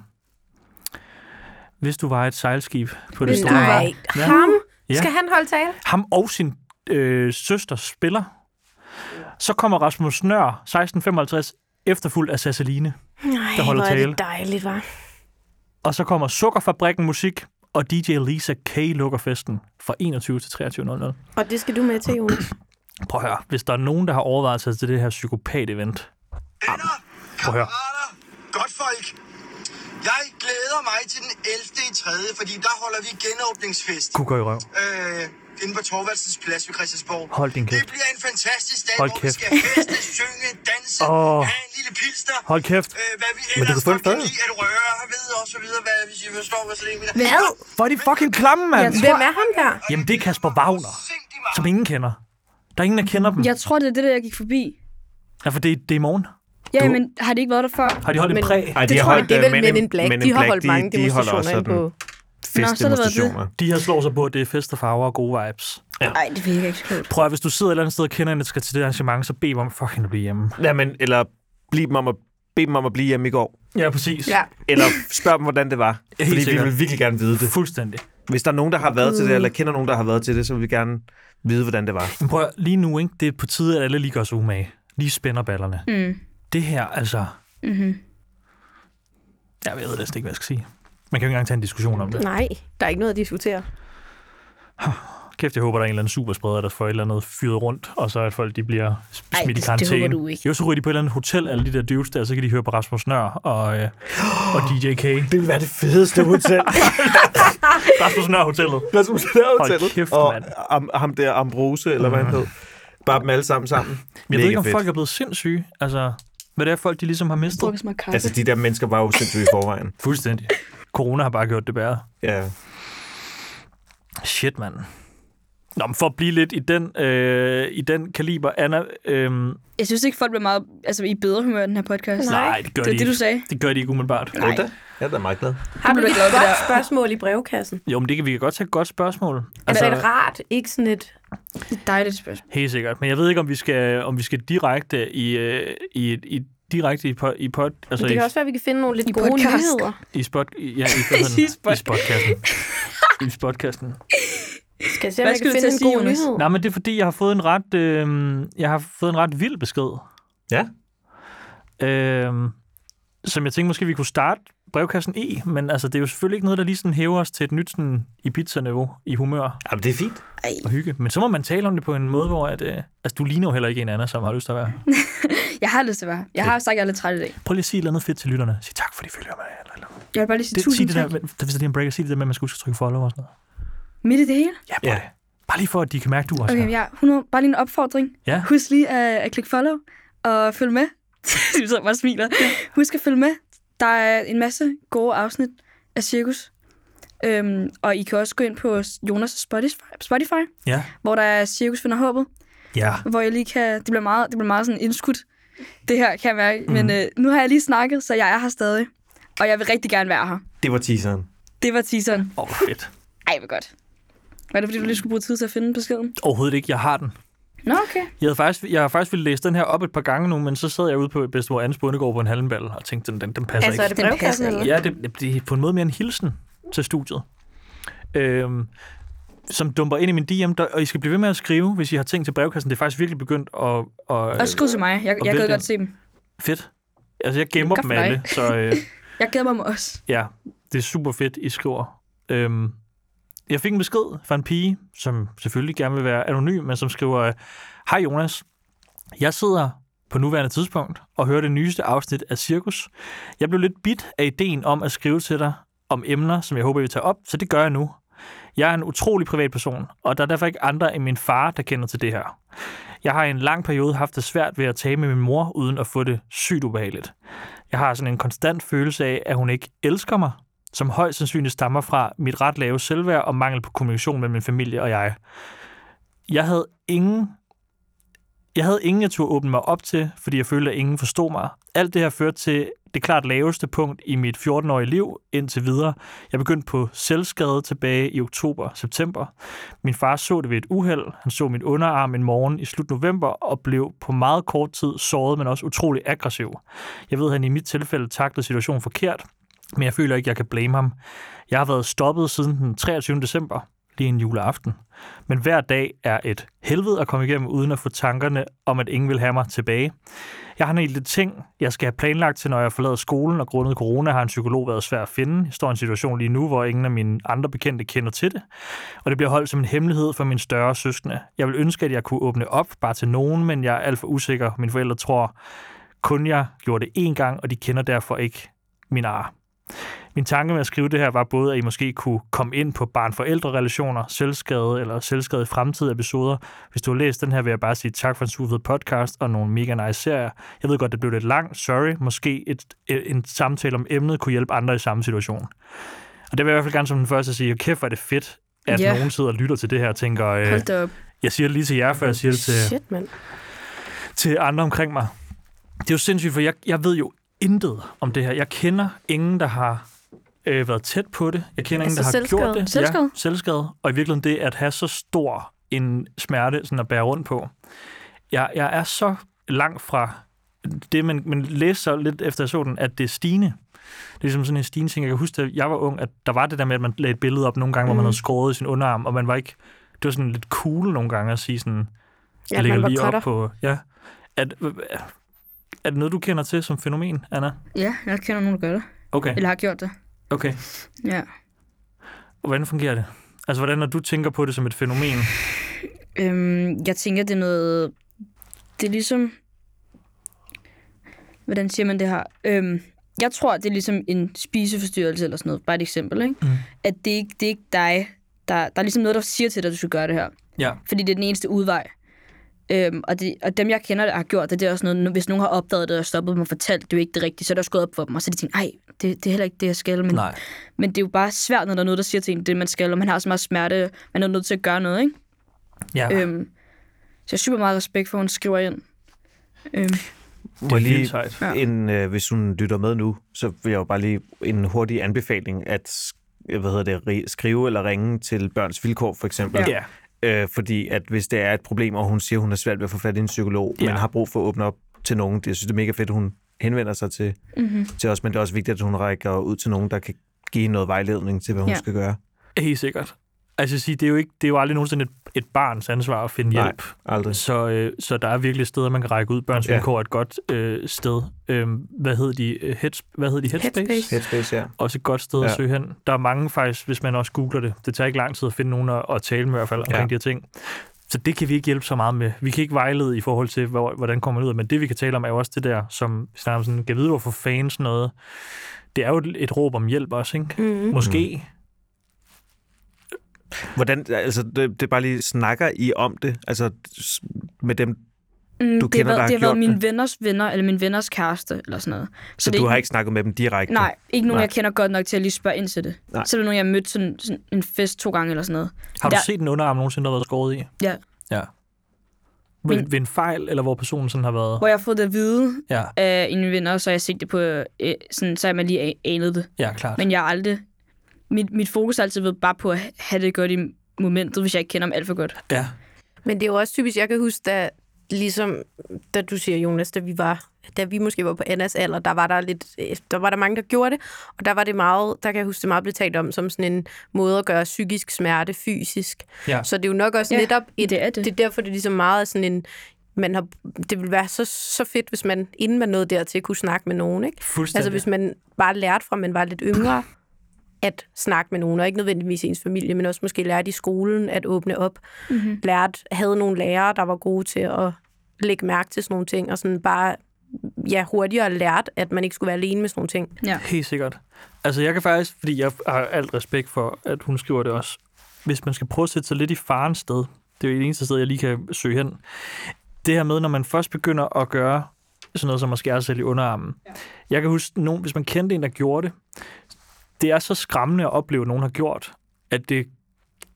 [SPEAKER 3] Hvis du var et sejlskib på det
[SPEAKER 4] Hvis
[SPEAKER 3] store
[SPEAKER 4] du var-
[SPEAKER 3] hav."
[SPEAKER 1] Nej, ham?
[SPEAKER 3] Ja.
[SPEAKER 1] Skal han holde tale?
[SPEAKER 3] Ham og sin øh, søster spiller. Så kommer Rasmus Nør, 1655, efterfuldt af Sasseline.
[SPEAKER 1] Nej,
[SPEAKER 3] Der holder
[SPEAKER 1] hvor er
[SPEAKER 3] tale.
[SPEAKER 1] det dejligt, var.
[SPEAKER 3] Og så kommer Sukkerfabrikken Musik, og DJ Lisa K. lukker festen fra 21 til 23.00.
[SPEAKER 1] Og det skal du med til, Jonas.
[SPEAKER 3] Prøv at høre, hvis der er nogen, der har overvejet sig til det her psykopat-event.
[SPEAKER 5] Venner,
[SPEAKER 3] Prøv at høre.
[SPEAKER 5] kammerater, godt folk. Jeg glæder mig til den 11. i 3., fordi der holder vi genåbningsfest.
[SPEAKER 3] Kukker i røv.
[SPEAKER 5] Øh, inde på Torvaldsens Plads ved Christiansborg.
[SPEAKER 3] Hold din kæft.
[SPEAKER 5] Det bliver en fantastisk dag,
[SPEAKER 3] Hold
[SPEAKER 5] hvor
[SPEAKER 3] kæft.
[SPEAKER 5] vi skal feste, synge, danse,
[SPEAKER 3] Åh.
[SPEAKER 5] oh. have en lille pilster.
[SPEAKER 3] Hold kæft.
[SPEAKER 5] Øh, hvad vi
[SPEAKER 3] du
[SPEAKER 5] ellers
[SPEAKER 3] kan få en
[SPEAKER 5] godt kan
[SPEAKER 3] fadøl.
[SPEAKER 5] lide at røre ved, og så videre, hvad hvis I forstår, hvad sådan en mener.
[SPEAKER 4] Hvad?
[SPEAKER 3] Hvor er de fucking klamme, mand!
[SPEAKER 4] Jeg
[SPEAKER 1] Hvem er ham der?
[SPEAKER 3] Jamen, det er Kasper Wagner,
[SPEAKER 5] Sindig meget.
[SPEAKER 3] som ingen kender. Der er ingen, der kender dem.
[SPEAKER 4] Jeg tror, det er det, der jeg gik forbi.
[SPEAKER 3] Ja, for det, det er i morgen.
[SPEAKER 4] Ja, men har det ikke været der før?
[SPEAKER 3] Har de holdt et
[SPEAKER 1] Men-
[SPEAKER 3] præg?
[SPEAKER 2] Ej,
[SPEAKER 1] Det tror jeg, det er
[SPEAKER 2] øh,
[SPEAKER 1] vel Men in Black.
[SPEAKER 2] Men
[SPEAKER 1] De
[SPEAKER 2] in
[SPEAKER 1] har
[SPEAKER 2] Black,
[SPEAKER 1] holdt mange
[SPEAKER 2] de, de holder også
[SPEAKER 1] demonstrationer inde
[SPEAKER 2] sådan
[SPEAKER 1] på...
[SPEAKER 2] festdemonstrationer.
[SPEAKER 3] De her slår sig på, at det er fest og farver og gode vibes. Ja.
[SPEAKER 4] Nej, det virker ikke så klogt.
[SPEAKER 3] Prøv at, hvis du sidder et eller andet sted og kender en, der skal til det arrangement, så bed dem om fucking at blive hjemme.
[SPEAKER 2] Ja, men, eller bliv dem om at, bed dem om at blive hjemme i går.
[SPEAKER 3] Ja, præcis.
[SPEAKER 1] Ja.
[SPEAKER 2] Eller spørg dem, hvordan det var.
[SPEAKER 3] helt
[SPEAKER 2] Fordi vi
[SPEAKER 3] sikkert.
[SPEAKER 2] vil virkelig gerne vide det.
[SPEAKER 3] Fuldstændig.
[SPEAKER 2] Hvis der er nogen, der har været til
[SPEAKER 1] Mm.
[SPEAKER 2] det, eller kender nogen, der har været til det, så vil vi gerne vide, hvordan det var.
[SPEAKER 3] Men prøv at, lige nu, ikke? det er på tide, at alle lige gør sig umage. Lige spænder ballerne.
[SPEAKER 4] Mm.
[SPEAKER 3] Det her, altså...
[SPEAKER 4] Mm-hmm.
[SPEAKER 3] Jeg ved næsten ikke, hvad jeg skal sige. Man kan jo ikke engang tage en diskussion om det.
[SPEAKER 1] Nej, der er ikke noget at diskutere.
[SPEAKER 3] Kæft, jeg håber, der er en eller anden superspreder, der får et eller andet fyret rundt, og så at folk de bliver smidt
[SPEAKER 4] Ej, altså,
[SPEAKER 3] Ej, i
[SPEAKER 4] det- det
[SPEAKER 3] karantæne.
[SPEAKER 4] håber du ikke.
[SPEAKER 3] Jo, så ryger de på et eller andet hotel, alle de der dudes der, så kan de høre på Rasmus Nør og, øh, og DJ K.
[SPEAKER 2] Det vil være det fedeste hotel.
[SPEAKER 3] Rasmus Nør Hotellet.
[SPEAKER 2] Rasmus Lær
[SPEAKER 3] Hold kæft,
[SPEAKER 2] og
[SPEAKER 3] mand. Mm.
[SPEAKER 2] ham, ham der Ambrose, eller hvad han hed. Bare dem alle sammen sammen.
[SPEAKER 3] Men jeg ved ikke, om
[SPEAKER 2] Mega fedt.
[SPEAKER 3] folk er blevet sindssyge. Altså, hvad det er, folk de ligesom har mistet.
[SPEAKER 4] Drukker så meget kaffe.
[SPEAKER 2] Altså, de der mennesker var jo sindssygt i forvejen.
[SPEAKER 3] Fuldstændig. Corona har bare gjort det værre.
[SPEAKER 2] Ja.
[SPEAKER 3] Shit, mand. Nå, men for at blive lidt i den, øh, i den kaliber, Anna... Øh, nej,
[SPEAKER 4] Jeg synes ikke, folk bliver meget altså, i bedre humør i den her podcast.
[SPEAKER 1] Nej.
[SPEAKER 3] det gør
[SPEAKER 4] Det
[SPEAKER 3] de
[SPEAKER 4] er det,
[SPEAKER 3] ikke.
[SPEAKER 4] du sagde.
[SPEAKER 3] Det gør de ikke umiddelbart.
[SPEAKER 2] Nej. Jeg er da meget glad.
[SPEAKER 1] Har du
[SPEAKER 4] blev
[SPEAKER 1] et
[SPEAKER 4] glad for
[SPEAKER 1] godt
[SPEAKER 4] det der.
[SPEAKER 1] spørgsmål i brevkassen?
[SPEAKER 3] Jo, men det kan vi kan godt tage et godt spørgsmål.
[SPEAKER 1] Altså, er det rart? Ikke sådan et...
[SPEAKER 4] Det er et dejligt spørgsmål.
[SPEAKER 3] Helt sikkert. Men jeg ved ikke, om vi skal, om vi skal direkte i, øh, i, i direkte i, po, i pod, altså
[SPEAKER 1] Men det
[SPEAKER 3] i,
[SPEAKER 1] kan også være, at vi kan finde nogle lidt
[SPEAKER 4] I
[SPEAKER 1] gode
[SPEAKER 4] podcast.
[SPEAKER 1] nyheder.
[SPEAKER 3] i spot, i, ja, i, podden,
[SPEAKER 4] I spot.
[SPEAKER 3] i spotkassen. I spotkassen.
[SPEAKER 1] Skal jeg se, om
[SPEAKER 4] Hvad
[SPEAKER 1] jeg
[SPEAKER 4] skal
[SPEAKER 1] kan
[SPEAKER 4] du til
[SPEAKER 1] finde
[SPEAKER 4] at
[SPEAKER 1] en
[SPEAKER 4] sige,
[SPEAKER 1] god
[SPEAKER 4] Jonas?
[SPEAKER 1] nyhed?
[SPEAKER 3] Nej, men det er fordi, jeg har fået en ret, øh, jeg har fået en ret vild besked.
[SPEAKER 2] Ja.
[SPEAKER 3] Øh, som jeg tænkte måske, vi kunne starte brevkassen i, men altså, det er jo selvfølgelig ikke noget, der lige sådan hæver os til et nyt sådan, i pizzaniveau, i humør
[SPEAKER 2] Jamen, det er fint.
[SPEAKER 3] og hygge. Men så må man tale om det på en måde, hvor at, øh, altså, du ligner jo heller ikke en anden, som har lyst til at være.
[SPEAKER 4] Jeg har lyst til at være. Jeg har sagt, at jeg er lidt træt i dag.
[SPEAKER 3] Prøv lige at sige et eller andet fedt til lytterne. Sig tak, fordi I følger mig. Eller, eller. andet.
[SPEAKER 4] Jeg vil bare lige sige
[SPEAKER 3] Det, sig
[SPEAKER 4] tusind
[SPEAKER 3] det
[SPEAKER 4] tak.
[SPEAKER 3] der, med, hvis det er en breaker, sig det der med, at man skal huske at trykke follow og sådan noget.
[SPEAKER 4] Midt i det hele?
[SPEAKER 3] Ja, prøv
[SPEAKER 2] Ja.
[SPEAKER 3] ja. det. Bare lige for, at de kan mærke, du også
[SPEAKER 4] Okay,
[SPEAKER 3] er.
[SPEAKER 4] ja. 100, bare lige en opfordring.
[SPEAKER 3] Ja.
[SPEAKER 4] Husk lige at, at klikke follow og følg med. du sidder bare og smiler. Husk at følge med. Der er en masse gode afsnit af Cirkus. Øhm, og I kan også gå ind på Jonas' Spotify, Spotify
[SPEAKER 3] Ja.
[SPEAKER 4] hvor der er Cirkus finder håbet,
[SPEAKER 3] ja.
[SPEAKER 4] hvor jeg lige kan... Det bliver meget, det bliver meget sådan indskudt, det her, kan jeg mærke. Mm. Men øh, nu har jeg lige snakket, så jeg er her stadig. Og jeg vil rigtig gerne være her.
[SPEAKER 2] Det var teaseren.
[SPEAKER 4] Det var teaseren.
[SPEAKER 3] Åh, oh, fedt.
[SPEAKER 4] Ej, hvor godt. Var det, fordi du lige skulle bruge tid til at finde beskeden?
[SPEAKER 3] Overhovedet ikke. Jeg har den.
[SPEAKER 4] Nå, okay.
[SPEAKER 3] Jeg havde faktisk, jeg har faktisk ville læse den her op et par gange nu, men så sad jeg ude på bedstemor Andes bondegård på en halmbal og tænkte, den, den, den passer
[SPEAKER 1] Altså, er
[SPEAKER 3] ikke.
[SPEAKER 1] det
[SPEAKER 4] Den
[SPEAKER 1] brevkassen
[SPEAKER 4] passer
[SPEAKER 1] eller
[SPEAKER 3] Ja, det, det er på en måde mere en hilsen til studiet. Øhm, som dumper ind i min DM, der, og I skal blive ved med at skrive, hvis I har ting til brevkassen. Det er faktisk virkelig begyndt at... at
[SPEAKER 4] Og skriv til mig. Jeg,
[SPEAKER 3] og
[SPEAKER 4] jeg
[SPEAKER 3] vælg
[SPEAKER 4] gad
[SPEAKER 3] den.
[SPEAKER 4] godt se dem.
[SPEAKER 3] fedt. Altså, jeg gemmer
[SPEAKER 4] Godt
[SPEAKER 3] dem
[SPEAKER 4] for dig.
[SPEAKER 3] alle, så øh,
[SPEAKER 4] Jeg gad mig om os.
[SPEAKER 3] ja, det er super fedt, I skriver. Øhm, jeg fik en besked fra en pige, som selvfølgelig gerne vil være anonym, men som skriver, øh, Hej Jonas, jeg sidder på nuværende tidspunkt og hører det nyeste afsnit af Cirkus. Jeg blev lidt bit af ideen om at skrive til dig om emner, som jeg håber, I vil tage op, så det gør jeg nu. Jeg er en utrolig privat person, og der er derfor ikke andre end min far, der kender til det her. Jeg har i en lang periode haft det svært ved at tale med min mor, uden at få det sygt ubehageligt. Jeg har sådan en konstant følelse af, at hun ikke elsker mig, som højst sandsynligt stammer fra mit ret lave selvværd og mangel på kommunikation mellem min familie og jeg. Jeg havde ingen jeg havde ingen, jeg turde åbne mig op til, fordi jeg følte, at ingen forstod mig. Alt det her førte til det klart laveste punkt i mit 14-årige liv indtil videre. Jeg begyndte på selvskade tilbage i oktober-september. Min far så det ved et uheld. Han så min underarm en morgen i slut november og blev på meget kort tid såret, men også utrolig aggressiv. Jeg ved, at han i mit tilfælde taklede situationen forkert, men jeg føler ikke, jeg kan blame ham. Jeg har været stoppet siden den 23. december, lige en juleaften. Men hver dag er et helvede at komme igennem, uden at få tankerne om, at ingen vil have mig tilbage. Jeg har en hel del ting, jeg skal have planlagt til, når jeg forlader skolen, og grundet corona har en psykolog været svær at finde. Jeg står i en situation lige nu, hvor ingen af mine andre bekendte kender til det, og det bliver holdt som en hemmelighed for mine større søskende. Jeg vil ønske, at jeg kunne åbne op bare til nogen, men jeg er alt for usikker. Mine forældre tror kun, jeg gjorde det én gang, og de kender derfor ikke min ar. Min tanke med at skrive det her var både, at I måske kunne komme ind på barn-forældre-relationer, selvskade eller selvskade i fremtidige episoder. Hvis du har læst den her, vil jeg bare sige tak for en super fed podcast og nogle mega nice serier. Jeg ved godt, det blev lidt langt. Sorry. Måske et, øh, en samtale om emnet kunne hjælpe andre i samme situation. Og det vil jeg i hvert fald gerne som den første sige, kæft, hvor er det fedt, at
[SPEAKER 4] Ja.
[SPEAKER 3] yeah. nogen sidder og lytter til det her og tænker, øh,
[SPEAKER 4] Hold da op.
[SPEAKER 3] jeg siger det lige til jer, før jeg siger det til,
[SPEAKER 1] Shit, mand.
[SPEAKER 3] til andre omkring mig. Det er jo sindssygt, for jeg, jeg ved jo intet om det her. Jeg kender ingen, der har øh, været tæt på det. Jeg kender
[SPEAKER 1] Altså
[SPEAKER 3] ingen, der har
[SPEAKER 1] selvskade.
[SPEAKER 3] gjort det. Ja,
[SPEAKER 4] Selvskade?
[SPEAKER 3] selvskade. Og i virkeligheden det at have så stor en smerte sådan at bære rundt på. Jeg, jeg er så langt fra det, men, men læste så lidt efter jeg så den, at det er stigende. Det er ligesom sådan en stigende ting. Jeg kan huske, da jeg var ung, at der var det der med, at man lagde et billede op nogle gange, mm. hvor man havde skåret i sin underarm, og man var ikke... Det var sådan lidt cool nogle gange at sige sådan,
[SPEAKER 1] Ja,
[SPEAKER 3] jeg
[SPEAKER 1] man
[SPEAKER 3] lægger
[SPEAKER 1] var
[SPEAKER 3] lige
[SPEAKER 1] cutter.
[SPEAKER 3] op på... Ja. Er, er det noget, du kender til som fænomen, Anna?
[SPEAKER 4] Ja, jeg kender nogen, der gør det.
[SPEAKER 3] Okay,
[SPEAKER 4] Eller har gjort det.
[SPEAKER 3] okay.
[SPEAKER 4] Ja.
[SPEAKER 3] Og hvordan fungerer det? Altså, hvordan når du tænker på det som et fænomen?
[SPEAKER 4] Øhm, jeg tænker, det er noget... Det er ligesom... Hvordan siger man det her? Øhm, jeg tror, det er ligesom en spiseforstyrrelse eller sådan noget. Bare et eksempel, ikke?
[SPEAKER 3] Mm.
[SPEAKER 4] At det, er ikke, det er ikke dig. Der, der er ligesom noget, der siger til dig, at du skal gøre det her.
[SPEAKER 3] Ja.
[SPEAKER 4] Fordi det er den eneste udvej. Øhm, og, det, og dem, jeg kender, der har gjort det, det er også noget, hvis nogen har opdaget det og stoppet dem og fortalt, det er jo ikke det rigtige, så er det også gået op for dem. Og så er de tænkt, ej, det, det er heller ikke det, jeg skal. Men,
[SPEAKER 3] Nej.
[SPEAKER 4] men det er jo bare svært, når der er noget, der siger til en, det man skal, og man har så meget smerte, man er nødt til at gøre noget, ikke?
[SPEAKER 3] Ja.
[SPEAKER 4] Ja. Øhm, så jeg har super meget respekt for, at hun skriver ind. Øhm,
[SPEAKER 2] Må jeg lige,
[SPEAKER 3] vildt sejt.
[SPEAKER 4] Ja.
[SPEAKER 2] en, øh, hvis hun lytter med nu, så vil jeg jo bare lige en hurtig anbefaling at sk- øh, hvad hedder det, ri- skrive eller ringe til børns vilkår, for eksempel.
[SPEAKER 3] Ja.
[SPEAKER 2] Øh, fordi at hvis det er et problem, og hun siger, hun har svært ved at få fat i en psykolog,
[SPEAKER 3] Ja.
[SPEAKER 2] men har brug for at åbne op til nogen, det, jeg synes, det er mega fedt, at hun henvender sig til, mm-hmm. til os, men det er også vigtigt, at hun rækker ud til nogen, der kan give hende noget vejledning til, hvad hun
[SPEAKER 4] Ja.
[SPEAKER 2] skal gøre.
[SPEAKER 3] Helt sikkert. Altså, jeg vil sige, det er jo, ikke, det er jo aldrig nogensinde et, et barns ansvar at finde hjælp.
[SPEAKER 2] aldrig.
[SPEAKER 3] Så, øh, så der er virkelig steder, man kan række ud. Børns
[SPEAKER 2] Ja.
[SPEAKER 3] ja. vilkår er et godt øh, sted. Øhm, hvad hedder de? Øh, Heads, hvad hedder de? Headspace?
[SPEAKER 1] Headspace.
[SPEAKER 2] Headspace, ja.
[SPEAKER 3] Også et godt sted ja.
[SPEAKER 2] Ja.
[SPEAKER 3] at søge hen. Der er mange faktisk, hvis man også googler det. Det tager ikke lang tid at finde nogen at, at tale med i hvert fald omkring
[SPEAKER 2] Ja.
[SPEAKER 3] ja. de her ting. Så det kan vi ikke hjælpe så meget med. Vi kan ikke vejlede i forhold til, hvor, hvordan kommer man ud af, men det vi kan tale om er jo også det der, som vi snakker om sådan, kan vide, hvorfor fans noget. Det er jo et, et råb om hjælp også, ikke? Mm. Måske.
[SPEAKER 2] Hvordan, altså, det, det er bare lige, snakker I om det? Altså, s- med dem,
[SPEAKER 4] Mm,
[SPEAKER 2] Du
[SPEAKER 4] det har
[SPEAKER 2] kender, der har
[SPEAKER 4] været, det har været
[SPEAKER 2] gjort
[SPEAKER 4] mine venners venner, eller min venners kæreste, eller sådan noget.
[SPEAKER 2] så, så
[SPEAKER 4] det er
[SPEAKER 2] du har ikke snakket med dem direkte?
[SPEAKER 4] Nej, ikke nogen,
[SPEAKER 2] Nej.
[SPEAKER 4] Nej. jeg kender godt nok til at lige spørge ind til det.
[SPEAKER 2] Nej.
[SPEAKER 4] Nej. Så er det nogen, jeg har mødt sådan, sådan en fest to gange eller sådan noget.
[SPEAKER 3] Har du
[SPEAKER 4] Der-
[SPEAKER 3] set en underarm nogensinde, der har været skåret i?
[SPEAKER 4] Ja.
[SPEAKER 3] Ja. Ved,
[SPEAKER 4] Men-
[SPEAKER 3] ved en fejl, eller hvor personen sådan har været?
[SPEAKER 4] Hvor jeg har fået det at vide
[SPEAKER 3] Ja,
[SPEAKER 4] af en venner, så har jeg set det på, øh, sådan, så har man lige a- anet det.
[SPEAKER 3] ja, klart.
[SPEAKER 4] Men jeg har aldrig... Mit, mit fokus har altid været bare på at have det godt i momentet, hvis jeg ikke kender dem alt for godt.
[SPEAKER 3] ja.
[SPEAKER 1] Men det er jo også typisk, jeg kan huske, da, ligesom, da du siger, Jonas, da vi var da vi måske var på Annas alder, der var der, lidt, øh, der var der mange, der gjorde det, og der var det meget, der kan jeg huske, det meget blev talt om som sådan en måde at gøre psykisk smerte fysisk.
[SPEAKER 3] Ja.
[SPEAKER 1] Så det er jo nok også
[SPEAKER 4] Ja,
[SPEAKER 1] netop, et,
[SPEAKER 4] det er det.
[SPEAKER 1] det er derfor, det er ligesom meget sådan en, man har, det ville være så, så fedt, hvis man, inden man nåede dertil, kunne snakke med nogen, ikke?
[SPEAKER 3] Fuldstændig.
[SPEAKER 1] Altså hvis man bare lærte fra, at man var lidt yngre, at snakke med nogen, og ikke nødvendigvis ens familie, men også måske lærte i skolen at åbne op. Mm-hmm. Lærte, havde nogle lærere, der var gode til at lægge mærke til sådan nogle ting, og sådan bare ja, hurtigere lært, at man ikke skulle være alene med sådan nogle ting.
[SPEAKER 4] Ja.
[SPEAKER 3] Helt sikkert. Altså jeg kan faktisk, fordi jeg har alt respekt for, at hun skriver det også. Hvis man skal prøve at sætte sig lidt i farens sted, det er jo det eneste sted, jeg lige kan søge hen. Det her med, når man først begynder at gøre sådan noget som at skære sig selv i underarmen. Jeg kan huske, nogen, hvis man kendte en, der gjorde det, det er så skræmmende at opleve, at nogen har gjort, at det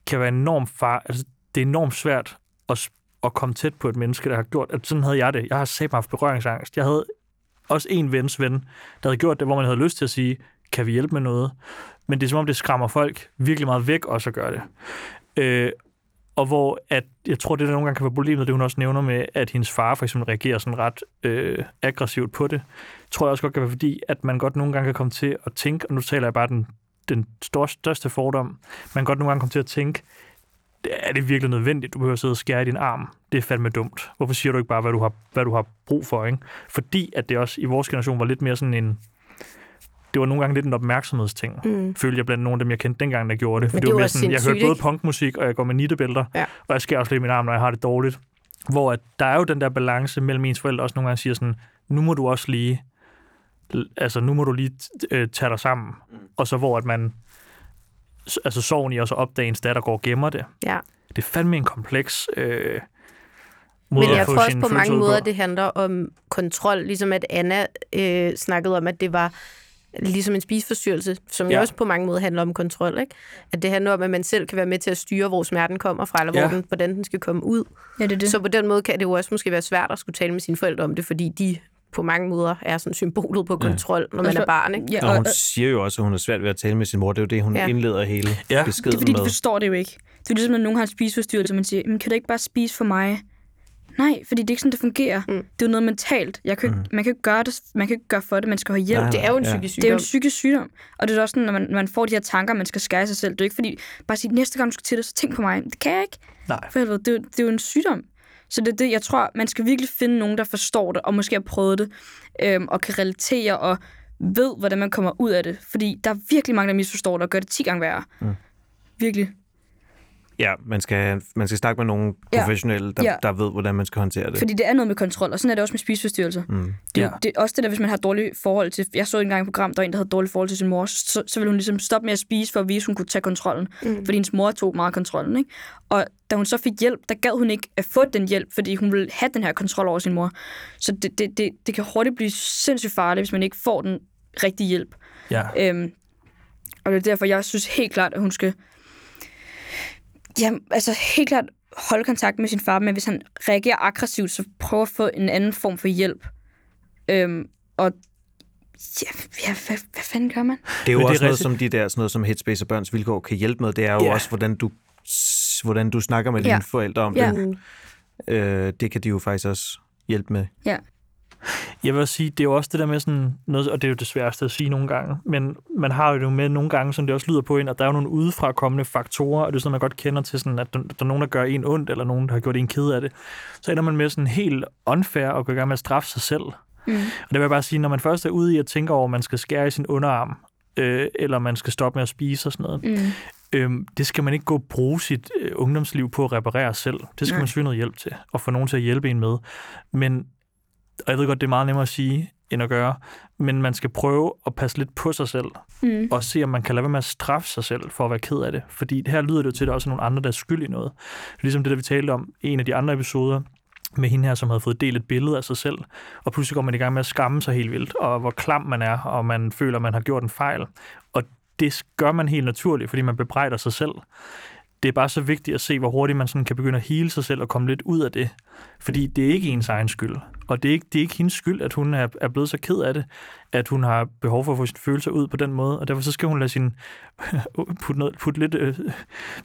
[SPEAKER 3] kan være enormt far, altså, det er enormt svært at, s- at komme tæt på et menneske, der har gjort, at sådan havde jeg det. Jeg har selv haft berøringsangst. Jeg havde også en vens ven, der havde gjort det, hvor man havde lyst til at sige, kan vi hjælpe med noget? Men det er som om, det skræmmer folk virkelig meget væk også at gøre det. Øh, og hvor at, jeg tror, det der nogle gange kan være problemet, det hun også nævner med, at hendes far for eksempel reagerer sådan ret øh, aggressivt på det, tror jeg også godt kan være fordi, at man godt nogle gange kan komme til at tænke, og nu taler jeg bare den, den stor, største fordom, man kan godt nogle gange komme til at tænke, er det virkelig nødvendigt, du behøver at sidde og skære i din arm? Det er fandme dumt. Hvorfor siger du ikke bare, hvad du har, hvad du har brug for? Ikke? Fordi at det også i vores generation var lidt mere sådan en... Det var nogle gange lidt en opmærksomhedsting. Mm. Følte jeg blandt nogle af dem, jeg kendte dengang, der gjorde det. For
[SPEAKER 1] Men
[SPEAKER 3] det,
[SPEAKER 1] det er
[SPEAKER 3] var
[SPEAKER 1] jo
[SPEAKER 3] mere
[SPEAKER 1] også
[SPEAKER 3] sådan, jeg hørte
[SPEAKER 1] sindssygt,
[SPEAKER 3] både
[SPEAKER 1] ikke?
[SPEAKER 3] punkmusik, og jeg går med nittebælter,
[SPEAKER 1] Ja.
[SPEAKER 3] og jeg skærer også lidt i min arm, når jeg har det dårligt. Hvor at der er jo den der balance mellem ens forældre også nogle gange siger sådan, nu må du også lige, altså nu må du lige t- øh, tage dig sammen. Og så hvor at man, s- altså soven i, og så opdager ens datter går og gemmer det.
[SPEAKER 1] Ja.
[SPEAKER 3] Det er fandme en kompleks øh, måde
[SPEAKER 1] Men jeg
[SPEAKER 3] at få
[SPEAKER 1] tror også
[SPEAKER 3] sine
[SPEAKER 1] på
[SPEAKER 3] følelser
[SPEAKER 1] mange
[SPEAKER 3] ud
[SPEAKER 1] måder, det handler om kontrol, ligesom at Anna øh, snakkede om, at det var ligesom en spiseforstyrrelse, som ja.
[SPEAKER 3] Ja.
[SPEAKER 1] jo også på mange måder handler om kontrol. Ikke? At det handler om, at man selv kan være med til at styre, hvor smerten kommer fra, eller
[SPEAKER 3] Ja.
[SPEAKER 1] hvor den, hvordan den skal komme ud.
[SPEAKER 4] Ja, det er det.
[SPEAKER 1] Så på den måde kan det jo også måske være svært at skulle tale med sine forældre om det, fordi de på mange måder er sådan symbolet på kontrol, når man
[SPEAKER 4] Altså,
[SPEAKER 1] er barn. Ikke?
[SPEAKER 4] Ja,
[SPEAKER 2] Og
[SPEAKER 4] og,
[SPEAKER 2] hun siger jo også, at hun har svært ved at tale med sin mor. Det er jo det, hun
[SPEAKER 1] Ja.
[SPEAKER 2] ja. indleder hele
[SPEAKER 3] Ja.
[SPEAKER 2] ja.
[SPEAKER 4] det er
[SPEAKER 2] beskeden
[SPEAKER 4] fordi, de
[SPEAKER 2] med.
[SPEAKER 4] forstår det jo ikke. Det er ligesom, når nogen har en spiseforstyrrelse, og man siger, "Men kan du ikke bare spise for mig? Nej, fordi det er ikke sådan, det fungerer. Mm. Det er jo noget mentalt. Jeg kan, mm. Man kan ikke gøre det, man kan ikke gøre for det, man skal have hjælp.
[SPEAKER 2] Nej,
[SPEAKER 1] Det er jo en
[SPEAKER 2] Ja.
[SPEAKER 1] psykisk sygdom.
[SPEAKER 4] Det er jo en psykisk sygdom. Og det er da også sådan, når man, når man får de her tanker, man skal skære sig selv. Det er jo ikke fordi, bare sige, næste gang du skal til det, så tænk på mig. Det kan jeg ikke.
[SPEAKER 3] Nej.
[SPEAKER 4] For helvede, det, er jo- det er jo en sygdom. Så det er det, jeg tror, man skal virkelig finde nogen, der forstår det, og måske har prøvet det, øhm, og kan relatere og ved, hvordan man kommer ud af det. Fordi der er virkelig mange, der misforstår det og gør det 10 gange værre. Mm. Virkelig.
[SPEAKER 2] Ja, man skal, man skal snakke med nogen
[SPEAKER 4] Ja.
[SPEAKER 2] professionelle, der,
[SPEAKER 4] Ja.
[SPEAKER 2] der ved, hvordan man skal håndtere det.
[SPEAKER 4] Fordi det er noget med kontrol, og sådan er det også med spiseforstyrrelser. Mm. Det,
[SPEAKER 3] Ja.
[SPEAKER 4] ja. det er også det der, hvis man har dårlige forhold til... Jeg så engang et program, der var en, der havde dårlige forhold til sin mor, så, så ville hun ligesom stoppe med at spise, for at vise, hun kunne tage kontrollen. Mm. Fordi hendes mor tog meget kontrollen, ikke? Og da hun så fik hjælp, der gad hun ikke at få den hjælp, fordi hun ville have den her kontrol over sin mor. Så det, det, det, det kan hurtigt blive sindssygt farligt, hvis man ikke får den rigtige hjælp.
[SPEAKER 3] Ja.
[SPEAKER 4] Øhm, og det er derfor, jeg synes helt klart, at hun skal... Ja, altså helt klart holde kontakt med sin far, men hvis han reagerer aggressivt, så prøv at få en anden form for hjælp. Øhm, og ja, ja hvad, hvad fanden gør man?
[SPEAKER 2] Det er jo
[SPEAKER 3] Men det er
[SPEAKER 2] også det er noget,
[SPEAKER 3] rigtigt.
[SPEAKER 2] som de der, sådan noget som Headspace og Børns Vilkår kan hjælpe med. Det er jo
[SPEAKER 3] Ja.
[SPEAKER 2] yeah. også, hvordan du, s- hvordan du snakker med
[SPEAKER 1] Ja.
[SPEAKER 2] dine forældre om
[SPEAKER 4] Ja.
[SPEAKER 2] det. Øh, det kan de jo faktisk også hjælpe med.
[SPEAKER 4] Ja.
[SPEAKER 3] Jeg vil også sige, det er jo også det der med sådan noget, og det er jo det sværeste at sige nogle gange, men man har jo det med nogle gange, som det også lyder på en, at der er jo nogle udefra kommende faktorer, og det er sådan, man godt kender til sådan, at der, der er nogen, der gør en ondt, eller nogen, der har gjort en ked af det. Så ender man med sådan helt unfair og gå i gang med at straffe sig selv. Mm. Og det vil jeg bare sige, når man først er ude i at tænke over, om man skal skære i sin underarm, øh, eller man skal stoppe med at spise og sådan noget, mm. Øhm, det skal man ikke gå og bruge sit øh, ungdomsliv på at reparere selv. Det skal Nej. man søge noget hjælp til, og få nogen til at hjælpe en med. Men og jeg ved godt, det er meget nemmere at sige, end at gøre, men man skal prøve at passe lidt på sig selv, mm. og se, om man kan lade være med at straffe sig selv for at være ked af det. Fordi her lyder det jo til, at der også er nogle andre, der er skyld i noget. Ligesom det, der vi talte om i en af de andre episoder, med hende her, som havde fået delt et billede af sig selv, og pludselig går man i gang med at skamme sig helt vildt, og hvor klam man er, og man føler, man har gjort en fejl. Og det gør man helt naturligt, fordi man bebrejder sig selv. Det er bare så vigtigt at se, hvor hurtigt man sådan kan begynde at hele sig selv og komme lidt ud af det. Fordi det er ikke ens egen skyld. Og det er ikke, det er ikke hendes skyld, at hun er, er blevet så ked af det, at hun har behov for at få sine følelser ud på den måde. Og derfor så skal hun lade sin, putte, noget, putte lidt øh,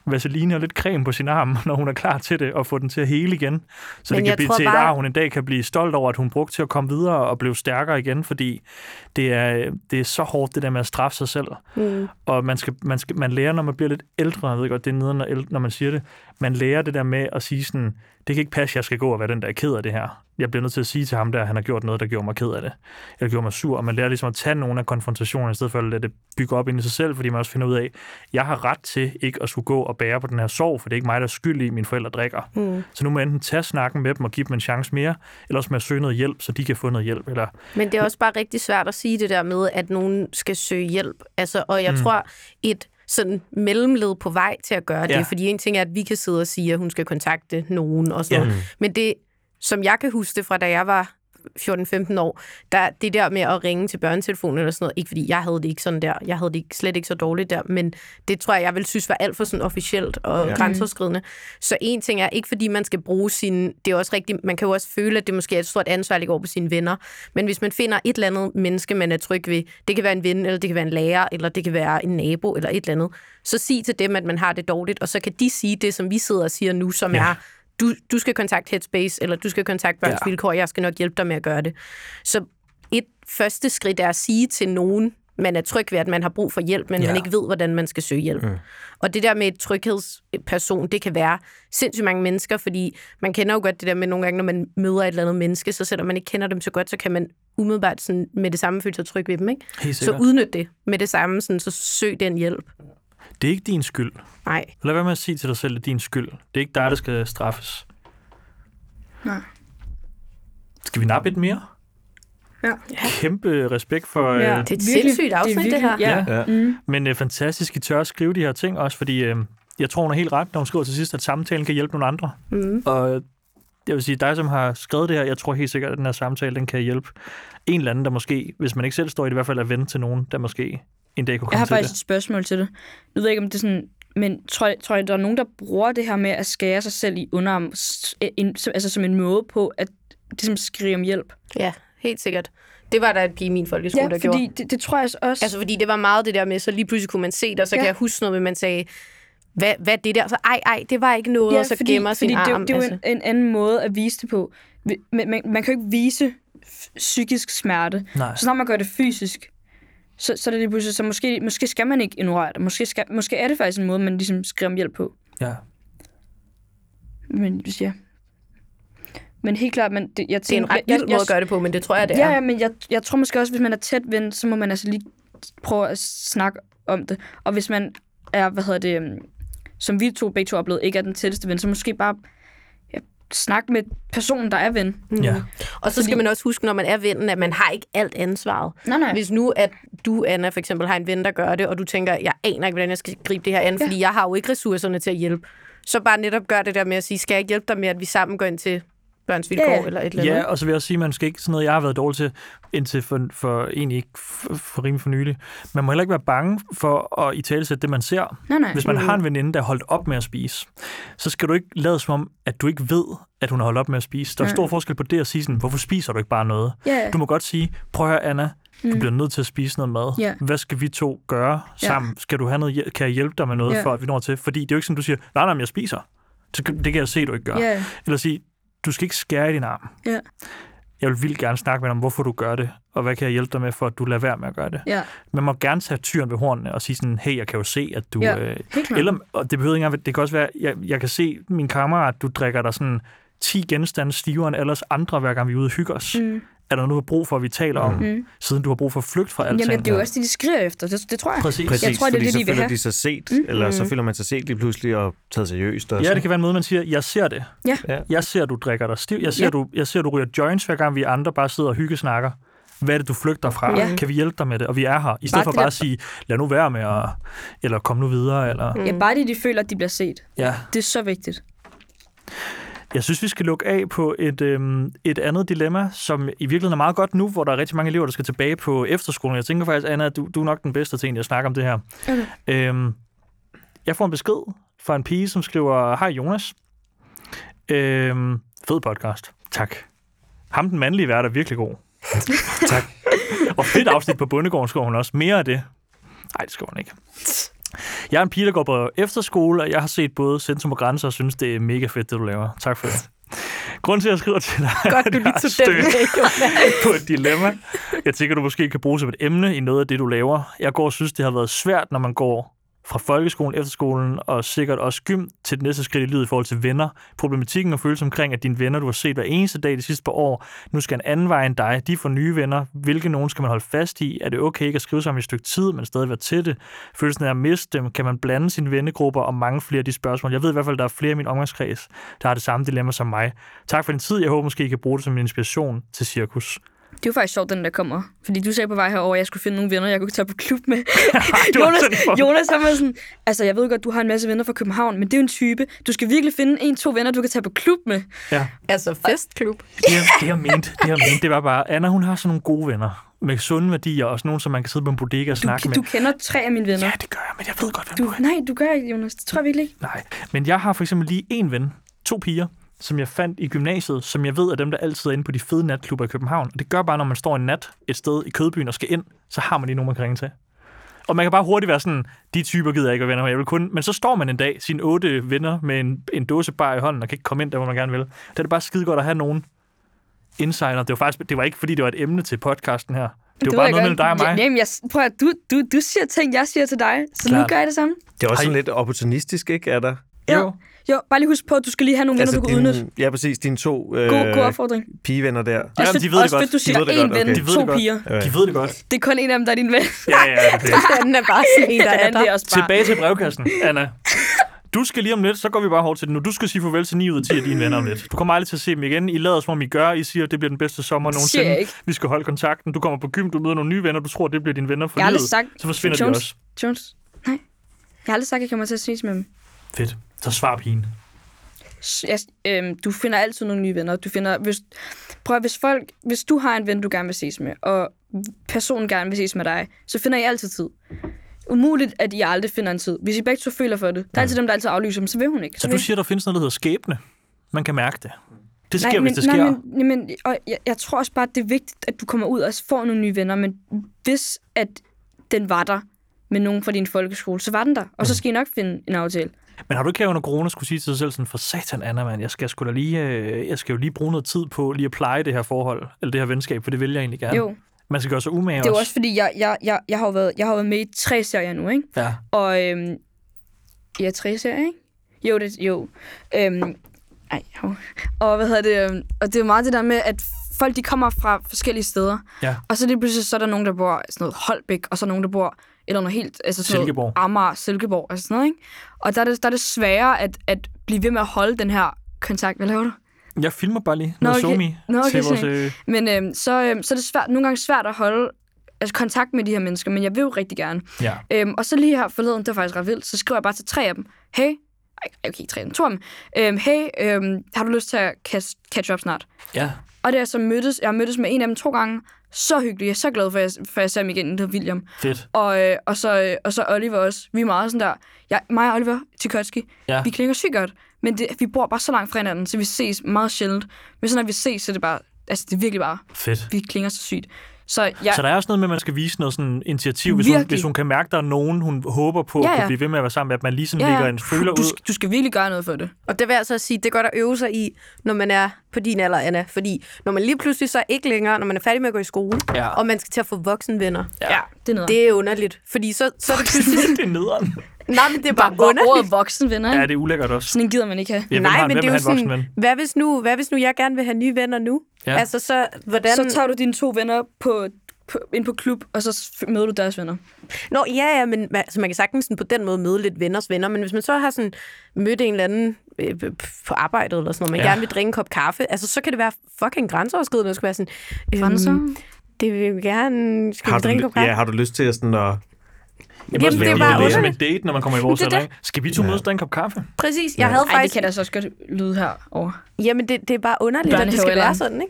[SPEAKER 3] vaseline og lidt creme på sin arm, når hun er klar til det, og få den til at hele igen. Så
[SPEAKER 1] Men
[SPEAKER 3] det kan
[SPEAKER 1] jeg
[SPEAKER 3] blive
[SPEAKER 1] tror
[SPEAKER 3] til et
[SPEAKER 1] bare-
[SPEAKER 3] ar, hun en dag kan blive stolt over, at hun brugte til at komme videre og blive stærkere igen, fordi det er, det er så hårdt, det der med at straffe sig selv. Mm. Og man, skal, man, skal, man lærer, når man bliver lidt ældre, jeg ved godt, det er nederen, når ældre- når man siger det, man lærer det der med at sige sådan, det kan ikke passe, jeg skal gå og være den, der er ked af det her. Jeg bliver nødt til at sige til ham der, at han har gjort noget, der gjorde mig ked af det. Eller gjorde mig sur. Og man lærer ligesom at tage nogle af konfrontationerne, i stedet for at lade det bygge op ind i sig selv, fordi man også finder ud af, jeg har ret til ikke at skulle gå og bære på den her sorg, for det er ikke mig, der er skyld i, at mine forældre drikker. Mm. Så nu må jeg enten tage snakken med dem og give dem en chance mere, eller også må jeg søge noget hjælp, så de kan få noget hjælp. Eller
[SPEAKER 1] Men det er også bare rigtig svært at sige det der med, at nogen skal søge hjælp. Altså, og jeg mm. tror, et sådan mellemled på vej til at gøre det,
[SPEAKER 3] Ja.
[SPEAKER 1] fordi en ting er, at vi kan sidde og sige, at hun skal kontakte nogen og sådan
[SPEAKER 3] Ja.
[SPEAKER 1] ja. noget. Men det, som jeg kan huske det fra, da jeg var 14-15 år, der, det der med at ringe til børnetelefonen eller sådan noget, ikke fordi jeg havde det ikke sådan der, jeg havde det ikke, slet ikke så dårligt der, men det tror jeg, jeg ville synes var alt for sådan officielt og ja. grænseoverskridende. Så en ting er, ikke fordi man skal bruge sin, det er også rigtigt, man kan jo også føle, at det måske er et stort ansvar, der går på sine venner, men hvis man finder et eller andet menneske, man er tryg ved, det kan være en ven, eller det kan være en lærer, eller det kan være en nabo, eller et eller andet, så sig til dem, at man har det dårligt, og så kan de sige det, som vi sidder og siger nu, som
[SPEAKER 3] Ja.
[SPEAKER 1] ja. er, du, du skal kontakte Headspace, eller du skal kontakte Børns
[SPEAKER 3] Ja.
[SPEAKER 1] ja. Vilkår, jeg skal nok hjælpe dig med at gøre det. Så et første skridt er at sige til nogen, man er tryg ved, at man har brug for hjælp, men
[SPEAKER 3] Ja.
[SPEAKER 1] ja. man ikke ved, hvordan man skal søge hjælp. Mm. Og det der med et tryghedsperson, det kan være sindssygt mange mennesker, fordi man kender jo godt det der med nogle gange, når man møder et eller andet menneske, så selvom man ikke kender dem så godt, så kan man umiddelbart sådan, med det samme føle sig tryg ved dem. Ikke?
[SPEAKER 3] Helt
[SPEAKER 1] Så
[SPEAKER 3] sikkert.
[SPEAKER 1] udnyt det med det samme, sådan, så søg den hjælp.
[SPEAKER 3] det er ikke din skyld.
[SPEAKER 1] Nej.
[SPEAKER 3] Lad være med at sige til dig selv, at det er din skyld. Det er ikke dig, der skal straffes.
[SPEAKER 4] Nej.
[SPEAKER 3] Skal vi nappe et mere?
[SPEAKER 4] Ja.
[SPEAKER 3] Kæmpe respekt for...
[SPEAKER 4] Ja.
[SPEAKER 3] Øh,
[SPEAKER 1] Det er et
[SPEAKER 4] Virkelig.
[SPEAKER 1] sindssygt
[SPEAKER 4] Det er
[SPEAKER 1] afsnit, det, det
[SPEAKER 4] virkelig-
[SPEAKER 1] her.
[SPEAKER 4] Ja.
[SPEAKER 2] Ja.
[SPEAKER 3] men øh, fantastisk, I tør at skrive de her ting også, fordi øh, jeg tror, hun er helt ret, når hun skriver til sidst, at samtalen kan hjælpe nogle andre. Mm. Og øh, jeg vil sige, dig, som har skrevet det her, jeg tror helt sikkert, at den her samtale den kan hjælpe en eller anden, der måske, hvis man ikke selv står i det, i hvert fald er ven til nogen, der måske en dag kunne
[SPEAKER 4] Jeg
[SPEAKER 3] komme
[SPEAKER 4] har
[SPEAKER 3] til
[SPEAKER 4] faktisk
[SPEAKER 3] det.
[SPEAKER 4] et spørgsmål til det. Nu ved jeg ikke, om det er sådan... Men tror, tror jeg, der er nogen, der bruger det her med at skære sig selv i underarm, s- en, som- altså som en måde på at ligesom skrige om hjælp?
[SPEAKER 1] Ja, helt sikkert. Det var der en pige i min folkeskole, der gjorde.
[SPEAKER 4] fordi det, det tror jeg også...
[SPEAKER 1] Altså, fordi det var meget det der med, så lige pludselig kunne man se det, og så ja.
[SPEAKER 4] Ja.
[SPEAKER 1] kan jeg huske noget med, man sagde, hvad, hvad er det der? Så ej, ej, det var ikke noget, ja, og så fordi, gemmer sin
[SPEAKER 4] fordi
[SPEAKER 1] arm.
[SPEAKER 4] Det, det er jo
[SPEAKER 1] altså.
[SPEAKER 4] en, en anden måde at vise det på. Vi- Men man, man kan jo ikke vise f- psykisk smerte.
[SPEAKER 3] Nej.
[SPEAKER 4] Så når man gør det fysisk, så, så er det lige pludselig, så måske, måske skal man ikke ignorere det. Måske, skal, måske er det faktisk en måde, man ligesom skriver om hjælp på.
[SPEAKER 3] Ja.
[SPEAKER 4] Men hvis ja. Men helt klart, man, det, jeg
[SPEAKER 1] det er
[SPEAKER 4] tænker...
[SPEAKER 1] en ret
[SPEAKER 4] jeg,
[SPEAKER 1] vild måde at gøre det på, men det tror jeg, det
[SPEAKER 4] Ja,
[SPEAKER 1] er.
[SPEAKER 4] ja, men jeg, jeg tror måske også, hvis man er tæt ven, så må man altså lige prøve at snakke om det. Og hvis man er, hvad hedder det, øhm, som vi to begge to oplevede, ikke er den tætteste ven, så måske bare ja, snakke med personen, der er ven.
[SPEAKER 1] Mm.
[SPEAKER 3] Ja.
[SPEAKER 1] Og så skal man også huske, når man er vennen, at man har ikke alt ansvaret.
[SPEAKER 4] Nej, nej.
[SPEAKER 1] Hvis nu, at du, Anna, for eksempel har en ven, der gør det, og du tænker, jeg aner ikke, hvordan jeg skal gribe det her an, ja. fordi jeg har jo ikke ressourcerne til at hjælpe, så bare netop gør det der med at sige, skal jeg ikke hjælpe dig med, at vi sammen går ind til børns vilkår,
[SPEAKER 4] Ja, ja.
[SPEAKER 1] eller et eller andet?
[SPEAKER 3] Ja, og så vil jeg også sige, at man skal ikke sådan noget, jeg har været dårlig til, indtil for, for egentlig ikke for, for rimelig for nylig. Man må heller ikke være bange for at i tale det, man ser.
[SPEAKER 4] Nej, nej.
[SPEAKER 3] Hvis man har en veninde, der er holdt op med at spise, så skal du ikke lade som om, at du ikke ved, at hun har holdt op med at spise. Der er stor forskel på det at sige sådan, hvorfor spiser du ikke bare noget?
[SPEAKER 4] Ja, ja. Mm.
[SPEAKER 3] Du må godt sige, prøv at høre, Anna, du bliver nødt til at spise noget mad.
[SPEAKER 4] Ja.
[SPEAKER 3] Hvad skal vi to gøre sammen? Skal du have noget, hjæl- kan jeg hjælpe dig med noget,
[SPEAKER 4] Ja.
[SPEAKER 3] for at vi når til? Fordi det er jo ikke sådan, du siger, nej, nej, men jeg spiser. Det kan det kan jeg se, du ikke gør.
[SPEAKER 4] Ja.
[SPEAKER 3] Eller sige, du skal ikke skære i din arm.
[SPEAKER 4] Ja.
[SPEAKER 3] jeg vil vildt gerne snakke med dig om, hvorfor du gør det, og hvad kan jeg hjælpe dig med, for at du lader være med at gøre det.
[SPEAKER 4] Ja,
[SPEAKER 3] Man må gerne tage tyren ved hornene og sige sådan, hey, jeg kan jo se, at du...
[SPEAKER 4] Ja,
[SPEAKER 3] øh,
[SPEAKER 4] helt klart.
[SPEAKER 3] eller, og det behøver ikke engang, det kan også være, jeg, jeg kan se min kammerat, du drikker dig sådan 10 genstande stivere end alles andre, hver gang vi er ude og hygger os. Mm. Er der noget, du har brug for, at vi taler om, mm. siden du har brug for at flygte fra alt
[SPEAKER 4] Jamen, det er jo også det, de skriger efter. Det, det tror jeg.
[SPEAKER 3] Præcis.
[SPEAKER 2] Præcis,
[SPEAKER 4] Jeg tror, det er
[SPEAKER 2] fordi
[SPEAKER 4] det,
[SPEAKER 2] så
[SPEAKER 4] de vil
[SPEAKER 2] føler
[SPEAKER 4] have.
[SPEAKER 2] de sig set, mm-hmm. eller så føler man sig set lige pludselig og taget seriøst. Og
[SPEAKER 3] Ja,
[SPEAKER 2] sådan.
[SPEAKER 3] det kan være en måde, man siger, jeg ser det.
[SPEAKER 4] Ja.
[SPEAKER 2] Ja.
[SPEAKER 3] Jeg ser, du drikker dig stiv. Jeg ser,
[SPEAKER 4] Ja.
[SPEAKER 3] du, jeg ser, du ryger joints, hver gang vi andre bare sidder og hyggesnakker. Hvad er det, du flygter fra?
[SPEAKER 4] Ja.
[SPEAKER 3] Kan vi hjælpe dig med det? Og vi er her. I stedet
[SPEAKER 4] Bare
[SPEAKER 3] for
[SPEAKER 4] det
[SPEAKER 3] bare
[SPEAKER 4] der-
[SPEAKER 3] at sige, lad nu være med at... Eller kom nu videre, eller...
[SPEAKER 4] Ja, bare det, de føler, at de bliver set.
[SPEAKER 3] Ja.
[SPEAKER 4] Det er så vigtigt.
[SPEAKER 3] Jeg synes, vi skal lukke af på et, øhm, et andet dilemma, som i virkeligheden er meget godt nu, hvor der er rigtig mange elever, der skal tilbage på efterskolen. Jeg tænker faktisk, Anna, at du, du er nok den bedste til egentlig at snakke om det her.
[SPEAKER 4] Okay.
[SPEAKER 3] Øhm, jeg får en besked fra en pige, som skriver, Hej Jonas. Øhm, fed podcast. Tak. Ham, den mandlige vært, er virkelig god. tak. Og fedt afsnit på Bundegården skriver hun også. Mere af det. Nej, det skriver hun ikke. Jeg er en pige, der går på efterskole, og jeg har set både Centrum og Grænser og synes, det er mega fedt, det du laver. Tak for det. Grunden til, at jeg skriver til dig,
[SPEAKER 1] Godt, du
[SPEAKER 3] er,
[SPEAKER 1] lige
[SPEAKER 3] at jeg
[SPEAKER 1] tog den
[SPEAKER 3] er
[SPEAKER 1] med, Jonas.
[SPEAKER 3] på et dilemma. Jeg tænker, du måske kan bruge som et emne i noget af det, du laver. Jeg går og synes, det har været svært, når man går fra folkeskolen, efterskolen og sikkert også gym til det næste skridt i livet i forhold til venner. Problematikken og følelsen omkring, at dine venner, du har set hver eneste dag de sidste par år, nu skal en anden vej end dig. De får nye venner. Hvilke nogen skal man holde fast i? Er det okay ikke at skrive sammen i et stykke tid, men stadig være til det? Følelsen af at miste dem. Kan man blande sine vennegrupper og mange flere af de spørgsmål? Jeg ved i hvert fald, at der er flere i min omgangskreds, der har det samme dilemma som mig. Tak for din tid. Jeg håber måske, I kan bruge det som en inspiration til cirkus.
[SPEAKER 4] Det er jo faktisk sjovt, den der kommer. Fordi du sagde på vej herover, at jeg skulle finde nogle venner, jeg kunne tage på klub med.
[SPEAKER 3] det var
[SPEAKER 4] Jonas,
[SPEAKER 3] sådan for-
[SPEAKER 4] Jonas han var sådan, altså jeg ved godt, du har en masse venner fra København, men det er jo en type. Du skal virkelig finde en, to venner, du kan tage på klub med.
[SPEAKER 3] Ja,
[SPEAKER 1] altså festklub.
[SPEAKER 3] det jeg, det jeg mente, det jeg mente, det var bare, Anna hun har sådan nogle gode venner med sunde værdier, og sådan nogle, som man kan sidde på en bodega og snakke
[SPEAKER 4] Du,
[SPEAKER 3] med.
[SPEAKER 4] du kender tre af mine venner.
[SPEAKER 3] Ja, det gør jeg, men jeg ved godt, hvem du
[SPEAKER 4] Du,
[SPEAKER 3] er.
[SPEAKER 4] nej, du gør ikke, Jonas. Det tror jeg virkelig ikke.
[SPEAKER 3] Nej, men jeg har for eksempel lige en ven, to piger, som jeg fandt i gymnasiet, som jeg ved er dem, der altid er inde på de fede natklubber i København. Og det gør bare, når man står en nat et sted i Kødbyen og skal ind, så har man lige nogen, man kan ringe til. Og man kan bare hurtigt være sådan, de typer gider jeg ikke at være venner med. Jeg vil kun... Men så står man en dag, sine otte venner med en, en dåse bar i hånden, og kan ikke komme ind der, hvor man gerne vil. Der er det bare skide godt at have nogen insider. Det var faktisk det var ikke, fordi det var et emne til podcasten her. Det, var
[SPEAKER 4] ved
[SPEAKER 3] bare
[SPEAKER 4] jeg
[SPEAKER 3] noget
[SPEAKER 4] godt.
[SPEAKER 3] mellem dig og mig.
[SPEAKER 4] Jamen, jeg, prøv at, du, du, du siger ting, jeg siger til dig, så nu
[SPEAKER 3] Klart.
[SPEAKER 4] gør jeg det samme.
[SPEAKER 2] det er også
[SPEAKER 3] Har I-
[SPEAKER 2] sådan lidt opportunistisk, ikke? Er der? Altså,
[SPEAKER 3] Jo.
[SPEAKER 4] Jo, bare lige husk på, at du skal lige have nogle
[SPEAKER 3] Altså,
[SPEAKER 4] venner, du kan udnytte.
[SPEAKER 2] din, ja, præcis. Dine to øh,
[SPEAKER 4] God, god opfordring.
[SPEAKER 2] pigevenner der.
[SPEAKER 3] Ja,
[SPEAKER 4] Også
[SPEAKER 3] men
[SPEAKER 4] fedt,
[SPEAKER 3] de ved det
[SPEAKER 4] også
[SPEAKER 3] godt.
[SPEAKER 4] fedt, du
[SPEAKER 3] De
[SPEAKER 4] siger
[SPEAKER 2] ved det
[SPEAKER 4] én
[SPEAKER 2] godt,
[SPEAKER 4] ven,
[SPEAKER 2] okay.
[SPEAKER 3] De ved
[SPEAKER 4] to
[SPEAKER 3] det godt.
[SPEAKER 4] piger.
[SPEAKER 3] De ved det godt.
[SPEAKER 4] Det er kun en af dem, der er din ven.
[SPEAKER 3] Ja, ja, det er det.
[SPEAKER 1] Den er bare sådan en, der er
[SPEAKER 4] Den anden, det
[SPEAKER 1] der.
[SPEAKER 4] er også bare...
[SPEAKER 3] Tilbage til brevkassen, Anna. Du skal lige om lidt, så går vi bare hårdt til det nu. Du skal sige farvel til 9 ud af 10 af dine venner om lidt. Du kommer aldrig til at se dem igen. I lader som om I gør. I siger, at det bliver den bedste sommer
[SPEAKER 4] siger jeg
[SPEAKER 3] nogensinde.
[SPEAKER 4] ikke.
[SPEAKER 3] Vi skal holde kontakten. Du kommer på gym, du møder nogle nye venner. Du tror, det bliver dine venner for
[SPEAKER 4] Jeg har
[SPEAKER 3] livet.
[SPEAKER 4] aldrig sagt...
[SPEAKER 3] Så forsvinder de
[SPEAKER 4] Jones,
[SPEAKER 3] også.
[SPEAKER 4] Jones, nej. Jeg har aldrig sagt, at jeg kommer til at synes med dem.
[SPEAKER 3] Fedt. Så svar pigen.
[SPEAKER 4] S- Jeg, øhm, du finder altid nogle nye venner. Du finder, hvis, prøv at, hvis, folk, hvis du har en ven, du gerne vil ses med, og personen gerne vil ses med dig, så finder I altid tid. Umuligt, at I aldrig finder en tid. Hvis I begge to føler for det. Der er altid dem, der altid aflyser dem, så vil hun ikke.
[SPEAKER 3] Så
[SPEAKER 4] vil-
[SPEAKER 3] du siger, der findes noget, der hedder skæbne. Man kan mærke det. Det sker,
[SPEAKER 4] nej, men,
[SPEAKER 3] hvis det sker.
[SPEAKER 4] Nej, men, nej, men og jeg, jeg tror også bare, at det er vigtigt, at du kommer ud og får nogle nye venner, men hvis at den var der med nogen fra din folkeskole, så var den der,
[SPEAKER 3] Mm.
[SPEAKER 4] og så skal I nok finde en aftale.
[SPEAKER 3] Men har du ikke her under corona skulle sige til dig selv sådan, for satan, Anna, man, jeg skal, sgu da lige, øh, jeg skal jo lige bruge noget tid på lige at pleje det her forhold, eller det her venskab, for det vil jeg egentlig gerne.
[SPEAKER 4] Jo.
[SPEAKER 3] Man skal gøre sig umage
[SPEAKER 4] Det er jo også fordi, jeg, jeg, jeg, jeg, har jo været, jeg har jo været med i tre serier nu, ikke?
[SPEAKER 3] Ja.
[SPEAKER 4] Og øhm, ja, tre serier, ikke? Jo, det, jo. Øhm, ej, jo. Og hvad hedder det? øhm, Og det er jo meget det der med, at folk de kommer fra forskellige steder.
[SPEAKER 3] Ja.
[SPEAKER 4] Og så lige pludselig, så er der nogen, der bor sådan noget Holbæk, og så er nogen, der bor eller noget helt, altså sådan
[SPEAKER 3] Silkeborg.
[SPEAKER 4] noget Amager, Silkeborg, altså sådan noget, ikke? Og der er det, der er det sværere at, at blive ved med at holde den her kontakt. Hvad laver du?
[SPEAKER 3] Jeg filmer bare lige noget
[SPEAKER 4] Nå, okay.
[SPEAKER 3] somi
[SPEAKER 4] Nå, okay,
[SPEAKER 3] til vores...
[SPEAKER 4] sådan.
[SPEAKER 3] Øh,
[SPEAKER 4] Men øhm, så, øhm, så er det svært, nogle gange svært at holde altså, kontakt med de her mennesker, men jeg vil jo rigtig gerne.
[SPEAKER 3] ja.
[SPEAKER 4] Øhm, og så lige her forleden, det var faktisk ret vildt, så skriver jeg bare til tre af dem, hey, ej, okay, ikke tre af dem, to af dem, øhm, hey, øhm, har du lyst til at catch, catch up snart?
[SPEAKER 3] ja.
[SPEAKER 4] Og det er så mødtes, jeg har mødtes med en af dem to gange, så hyggeligt, jeg er så glad for, at jeg, for at jeg ser ham igen, det hedder William.
[SPEAKER 3] Fedt.
[SPEAKER 4] Og, øh, og, så, øh, og så Oliver også, vi er meget sådan der, jeg, mig og Oliver Tikotski,
[SPEAKER 3] Ja.
[SPEAKER 4] vi klinger sygt godt, men det, vi bor bare så langt fra hinanden, så vi ses meget sjældent. Men så når vi ses, så er det bare, altså det er virkelig bare,
[SPEAKER 3] Fedt.
[SPEAKER 4] vi klinger så sygt. Så
[SPEAKER 3] Ja.
[SPEAKER 4] jeg,
[SPEAKER 3] Så der er også noget med, at man skal vise noget sådan initiativ, hvis hun,
[SPEAKER 4] Virkelig.
[SPEAKER 3] hvis hun kan mærke, der er nogen, hun håber på ja,
[SPEAKER 4] Ja,
[SPEAKER 3] ja.
[SPEAKER 4] ja.
[SPEAKER 3] at kunne blive ved med at være sammen med, at man ligesom ja,
[SPEAKER 4] Ja,
[SPEAKER 3] ja.
[SPEAKER 4] ja.
[SPEAKER 3] lægger en føler
[SPEAKER 4] du,
[SPEAKER 3] ud.
[SPEAKER 4] skal- du skal virkelig gøre noget for det.
[SPEAKER 1] Og det vil jeg så sige, det er godt at øve sig i, når man er på din alder, Anna. Fordi når man lige pludselig så ikke længere, når man er færdig med at gå i skole,
[SPEAKER 3] Ja.
[SPEAKER 1] og man skal til at få voksenvenner,
[SPEAKER 4] Ja, det er noget.
[SPEAKER 1] det er underligt. Fordi så, så er det pludselig...
[SPEAKER 3] det er nederen.
[SPEAKER 1] Nej, men det er bare
[SPEAKER 4] bare ordet
[SPEAKER 1] underligt.
[SPEAKER 4] voksen, venner.
[SPEAKER 3] Ja,
[SPEAKER 4] Ja,
[SPEAKER 3] det er ulækkert også.
[SPEAKER 4] Sådan en gider man ikke have.
[SPEAKER 3] Ja, hvem har,
[SPEAKER 1] Nej, men
[SPEAKER 3] hvem
[SPEAKER 1] det er jo
[SPEAKER 3] han voksen
[SPEAKER 1] sådan,
[SPEAKER 3] ven?
[SPEAKER 1] hvad hvis, nu, hvad hvis nu jeg gerne vil have nye venner nu?
[SPEAKER 3] Ja.
[SPEAKER 1] Altså, så hvordan...
[SPEAKER 4] Så tager du dine to venner på, på, ind på klub, og så f- møder du deres venner.
[SPEAKER 1] Nå, ja, ja, men ma- altså, man kan sagtens sådan, på den måde møde lidt venners venner, men hvis man så har sådan, mødt en eller anden øh, p- på arbejdet eller sådan noget, man
[SPEAKER 3] Ja.
[SPEAKER 1] ja. gerne vil drikke en kop kaffe, altså, så kan det være fucking grænseoverskridende at skulle være sådan... Øhm, det vil vi gerne... Skal
[SPEAKER 2] Har
[SPEAKER 1] vi drikke en kop
[SPEAKER 2] du,
[SPEAKER 1] kaffe?
[SPEAKER 2] ja, har du lyst til at sådan at...
[SPEAKER 3] Jamen, Jamen,
[SPEAKER 1] det
[SPEAKER 3] det
[SPEAKER 1] er
[SPEAKER 3] er
[SPEAKER 1] bare
[SPEAKER 3] bare ligesom en
[SPEAKER 1] underligt.
[SPEAKER 3] date, når man kommer i vores
[SPEAKER 1] Men det er
[SPEAKER 3] alder. ikke? Skal vi to mødes og drikke en kop kaffe?
[SPEAKER 1] Præcis, jeg havde
[SPEAKER 4] Ej, det
[SPEAKER 1] faktisk...
[SPEAKER 4] kan da så også godt lyde herovre.
[SPEAKER 1] Jamen, det, det er bare underligt, at det skal
[SPEAKER 4] Børnehavealderen.
[SPEAKER 1] være sådan,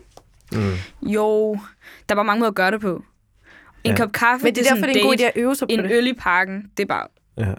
[SPEAKER 1] ikke?
[SPEAKER 4] Jo, der var mange måder at gøre det på. En
[SPEAKER 2] Ja.
[SPEAKER 4] ja. kop kaffe,
[SPEAKER 1] Men det er derfor, det er en god idé at øve sig på
[SPEAKER 4] En
[SPEAKER 1] det.
[SPEAKER 4] øl i parken, det er bare,
[SPEAKER 2] Ja.
[SPEAKER 4] vi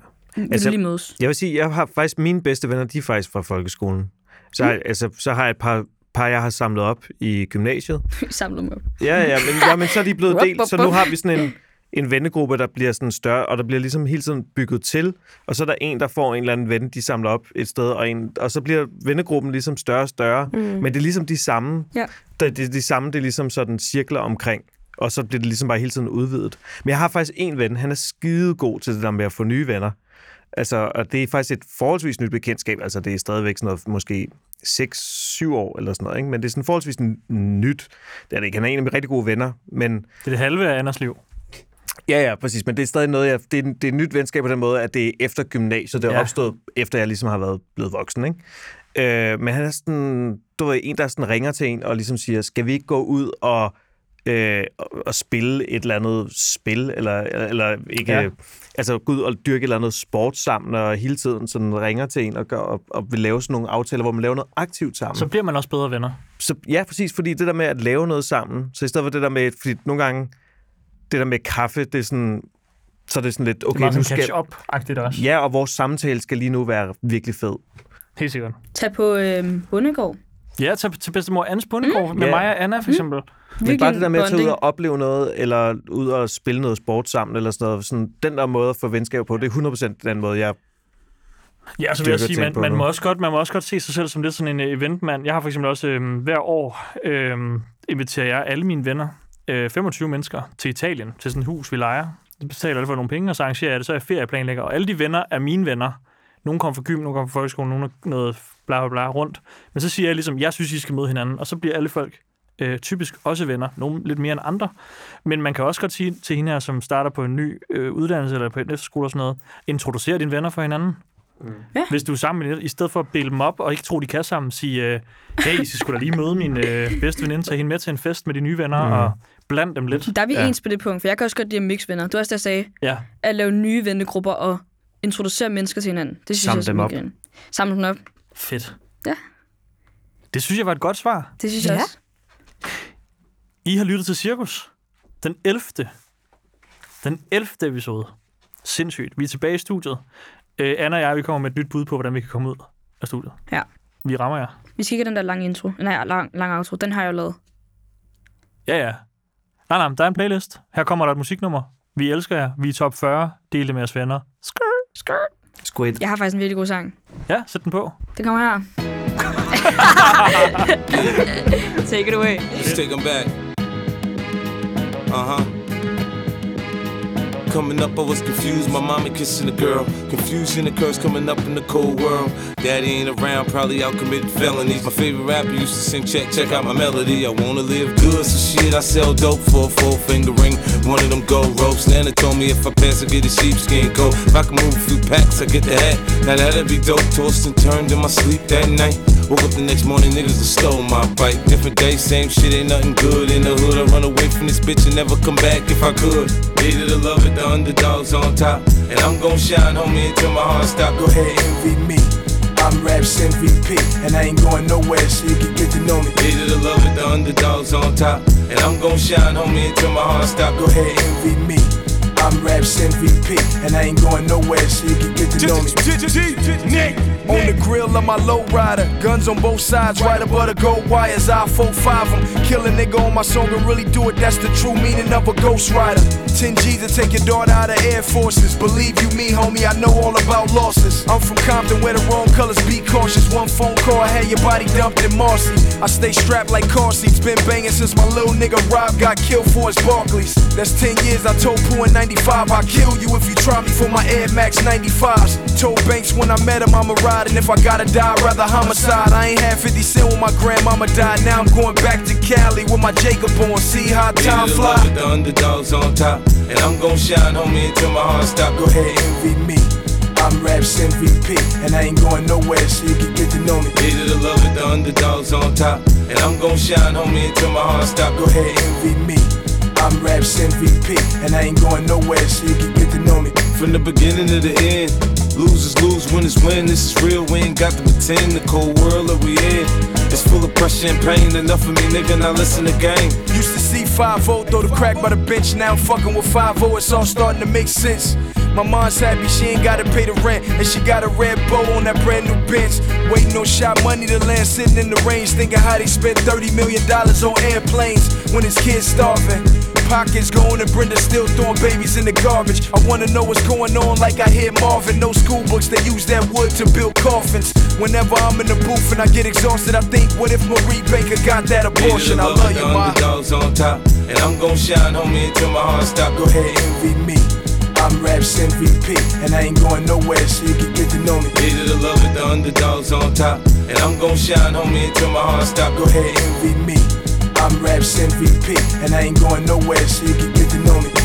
[SPEAKER 2] Altså-
[SPEAKER 4] altså, lige mødes.
[SPEAKER 2] Jeg vil sige, jeg har faktisk mine bedste venner, de er faktisk fra folkeskolen. Så, mm. altså, så har jeg et par, par, jeg har samlet op i gymnasiet.
[SPEAKER 4] Samle dem op.
[SPEAKER 2] Ja, ja, men, ja, men så er de blevet
[SPEAKER 4] Wup,
[SPEAKER 2] delt,
[SPEAKER 4] wup,
[SPEAKER 2] så nu
[SPEAKER 4] wup.
[SPEAKER 2] har vi sådan en, en vennegruppe, der bliver sådan større, og der bliver ligesom hele tiden bygget til, og så er der en, der får en eller anden ven, de samler op et sted, og, en, og så bliver vennegruppen ligesom større og større, mm. men det er ligesom de samme,
[SPEAKER 4] Ja.
[SPEAKER 2] der, det, er de samme, det er ligesom sådan cirkler omkring, og så bliver det ligesom bare hele tiden udvidet. Men jeg har faktisk en ven, han er skide god til det der med at få nye venner, altså, og det er faktisk et forholdsvis nyt bekendtskab, altså det er stadigvæk sådan noget, måske 6-7 år eller sådan noget, ikke? men det er sådan forholdsvis n- nyt. Det er det ikke. Han er en af mine rigtig gode venner, men
[SPEAKER 3] Det er det halve af Anders liv.
[SPEAKER 2] Ja, ja, præcis. Men det er stadig noget, jeg, det, er, det er et nyt venskab på den måde, at det er efter gymnasiet. Det er
[SPEAKER 3] Ja.
[SPEAKER 2] ja. opstået, efter jeg ligesom har været blevet voksen, ikke? Øh, men han er sådan, du ved, en, der sådan ringer til en og ligesom siger, skal vi ikke gå ud og, øh, og- og spille et eller andet spil, eller, eller ikke,
[SPEAKER 3] Ja.
[SPEAKER 2] ja. altså gå ud og dyrke et eller andet sport sammen, og hele tiden sådan ringer til en og, gør, og, og vil lave sådan nogle aftaler, hvor man laver noget aktivt sammen
[SPEAKER 3] Så bliver man også bedre venner.
[SPEAKER 2] så, ja, præcis, fordi det der med at lave noget sammen, så i stedet for det der med, fordi nogle gange, det der med kaffe, det er sådan, så er det sådan lidt,
[SPEAKER 3] Det er
[SPEAKER 2] okay,
[SPEAKER 3] meget
[SPEAKER 2] nu
[SPEAKER 3] sådan
[SPEAKER 2] skal,
[SPEAKER 3] catch-up-agtigt også.
[SPEAKER 2] ja, og vores samtale skal lige nu være virkelig fed.
[SPEAKER 3] Helt sikkert.
[SPEAKER 4] Tag på øh, bondegård.
[SPEAKER 3] Ja, til, til bedstemor Annes bundegård mm. med
[SPEAKER 2] Ja.
[SPEAKER 3] mig og Anna, for eksempel. Mm.
[SPEAKER 2] Men
[SPEAKER 4] Virkelig
[SPEAKER 2] bare det der med at tage ud
[SPEAKER 4] bonding.
[SPEAKER 2] og opleve noget, eller ud og spille noget sport sammen, eller sådan noget, sådan den der måde at få venskab på, det er 100% den måde, jeg...
[SPEAKER 3] Ja, så
[SPEAKER 2] Det er
[SPEAKER 3] vil jeg
[SPEAKER 2] godt
[SPEAKER 3] sige,
[SPEAKER 2] tænkt
[SPEAKER 3] man,
[SPEAKER 2] på
[SPEAKER 3] man,
[SPEAKER 2] nu.
[SPEAKER 3] må også godt, man må også godt se sig selv som lidt sådan en øh, eventmand. Jeg har for eksempel også øh, hver år øh, inviterer jeg alle mine venner, øh, 25 mennesker, til Italien, til sådan et hus, vi leger. Så betaler jeg for nogle penge, og så arrangerer jeg det, så er jeg ferieplanlægger. Og alle de venner er mine venner. Nogle kommer fra gym, nogle kommer fra folkeskolen, nogle er noget bla bla bla rundt. Men så siger jeg ligesom, jeg synes, I skal møde hinanden, og så bliver alle folk øh, typisk også venner, nogle lidt mere end andre. Men man kan også godt sige til hende her, som starter på en ny øh, uddannelse eller på en efterskole og sådan noget, introducer dine venner for hinanden.
[SPEAKER 4] Mm. Ja.
[SPEAKER 3] Hvis du er sammen med i stedet for at dele dem op og ikke tro, de kan sammen, sige, øh, hey, I skal sgu da lige møde min øh, bedste veninde, tage hende med til en fest med de nye venner mm. og bland dem lidt.
[SPEAKER 4] Der er vi
[SPEAKER 2] Ja.
[SPEAKER 4] ja. ens på det punkt, for jeg kan også godt lide at mixe venner. Du er også der sagde,
[SPEAKER 3] Ja.
[SPEAKER 4] at lave nye vennegrupper og introducere mennesker til hinanden. Det synes
[SPEAKER 2] Samle
[SPEAKER 4] jeg
[SPEAKER 2] dem op.
[SPEAKER 4] simpelthen. Samle dem op.
[SPEAKER 3] Fedt.
[SPEAKER 4] Ja.
[SPEAKER 3] Det synes jeg var et godt svar.
[SPEAKER 4] Det synes ja. jeg
[SPEAKER 1] Ja.
[SPEAKER 4] også.
[SPEAKER 3] I har lyttet til Cirkus. Den 11. Den 11. episode. Sindssygt. Vi er tilbage i studiet. Øh, Anna og jeg, vi kommer med et nyt bud på, hvordan vi kan komme ud af studiet.
[SPEAKER 4] Ja.
[SPEAKER 3] Vi rammer jer.
[SPEAKER 4] Vi skal ikke have den der lange intro. Nej, lang, lang outro. Den har jeg jo lavet.
[SPEAKER 3] Ja, ja. Nej, nej, men der er en playlist. Her kommer der et musiknummer. Vi elsker jer. Vi er top 40. Del det med jeres venner.
[SPEAKER 2] Squid.
[SPEAKER 4] Jeg har faktisk en virkelig god sang.
[SPEAKER 3] Ja, sæt den på.
[SPEAKER 4] Den kommer her. Take it away.
[SPEAKER 6] Let's take 'em back. Uh huh. Coming up, I was confused. My mommy kissing a girl. Confusion occurs coming up in the cold world. Daddy ain't around, probably out committing felonies. My favorite rapper used to sing, check, check out my melody. I wanna live good, so shit, I sell dope for a four finger ring. One of them gold ropes. Nana told me if I pass, I get a sheepskin coat. If I can move a few packs, I get the hat. Now that'd be dope. Tossed and turned in my sleep that night. Woke up the next morning, niggas done stole my bike. Different day, same shit, ain't nothing good in the hood. I run away from this bitch and never come back if I could. Needed to love it, the underdogs on top. And I'm gon' shine, homie, until my heart stop.
[SPEAKER 7] Go ahead, envy me. I'm Raps MVP, and I ain't going nowhere, so you can get to know me.
[SPEAKER 6] Needed to love it, the underdogs on top. And I'm gon' shine, homie, until my heart stop.
[SPEAKER 7] Go ahead, envy me. I'm Raps MVP, and I ain't going nowhere, so you can get to know me. On the grill of my low rider, guns on both sides, right above the gold wires. I 4-5 them, kill a nigga on my song and really do it. That's the true meaning of a ghost rider. 10 G's to take your daughter out of Air Forces. Believe you me, homie, I know all about losses. I'm from Compton, where the wrong colors be cautious. One phone call, had your body dumped in Marcy. I stay strapped like car seats, been banging since my little nigga Rob got killed for his Barclays. That's 10 years, I told Pooh in 95, I'll kill you if you try me for my Air Max 95s. Told Banks when I met him I'ma ride, and if I gotta die, I'd rather homicide. I ain't had 50 cent when my grandmama died, now I'm going back to Cali with my Jacob on, see how time
[SPEAKER 6] Leave it
[SPEAKER 7] fly.
[SPEAKER 6] alone, The underdogs on top, and I'm gon' shine, homie, until my heart stop.
[SPEAKER 7] Go ahead, envy me. I'm Raps MVP, and I ain't going nowhere, so you can get to know me.
[SPEAKER 6] Hated the love with the underdogs on top, and I'm gon' shine, homie, until my heart stop.
[SPEAKER 7] Go ahead, envy me. I'm Raps MVP, and I ain't going nowhere, so you can get to know me.
[SPEAKER 6] From the beginning to the end, lose is lose, win is win. This is real, we ain't got to pretend. The cold world that we in, it's full of pressure and pain. Enough of me, nigga, now listen to game.
[SPEAKER 7] Used to see 5 throw the crack by the bench, now I'm fucking with 5 it's all starting to make sense. My mom's happy she ain't gotta pay the rent, and she got a red bow on that brand new bench. Waiting on shot money to land, sitting in the range, thinking how they spent 30 million dollars on airplanes when his kids starving. Pockets going and Brenda still throwing babies in the garbage. I wanna know what's going on, like I hear Marvin. No school books, they use that wood to build coffins. Whenever I'm in the booth and I get exhausted, I think, what if Marie Baker got that abortion? I love
[SPEAKER 6] the
[SPEAKER 7] you, ma.
[SPEAKER 6] underdogs on top, and I'm gon' shine, homie, until my heart stop.
[SPEAKER 7] Go ahead, envy me. I'm Raps MVP, and I ain't going nowhere, so you can get to know me.
[SPEAKER 6] Hated the love with the underdogs on top, and I'm gon' shine, homie, until my heart stop.
[SPEAKER 7] Go ahead, envy me. I'm Raps MVP, and I ain't going nowhere, so you can get to know me.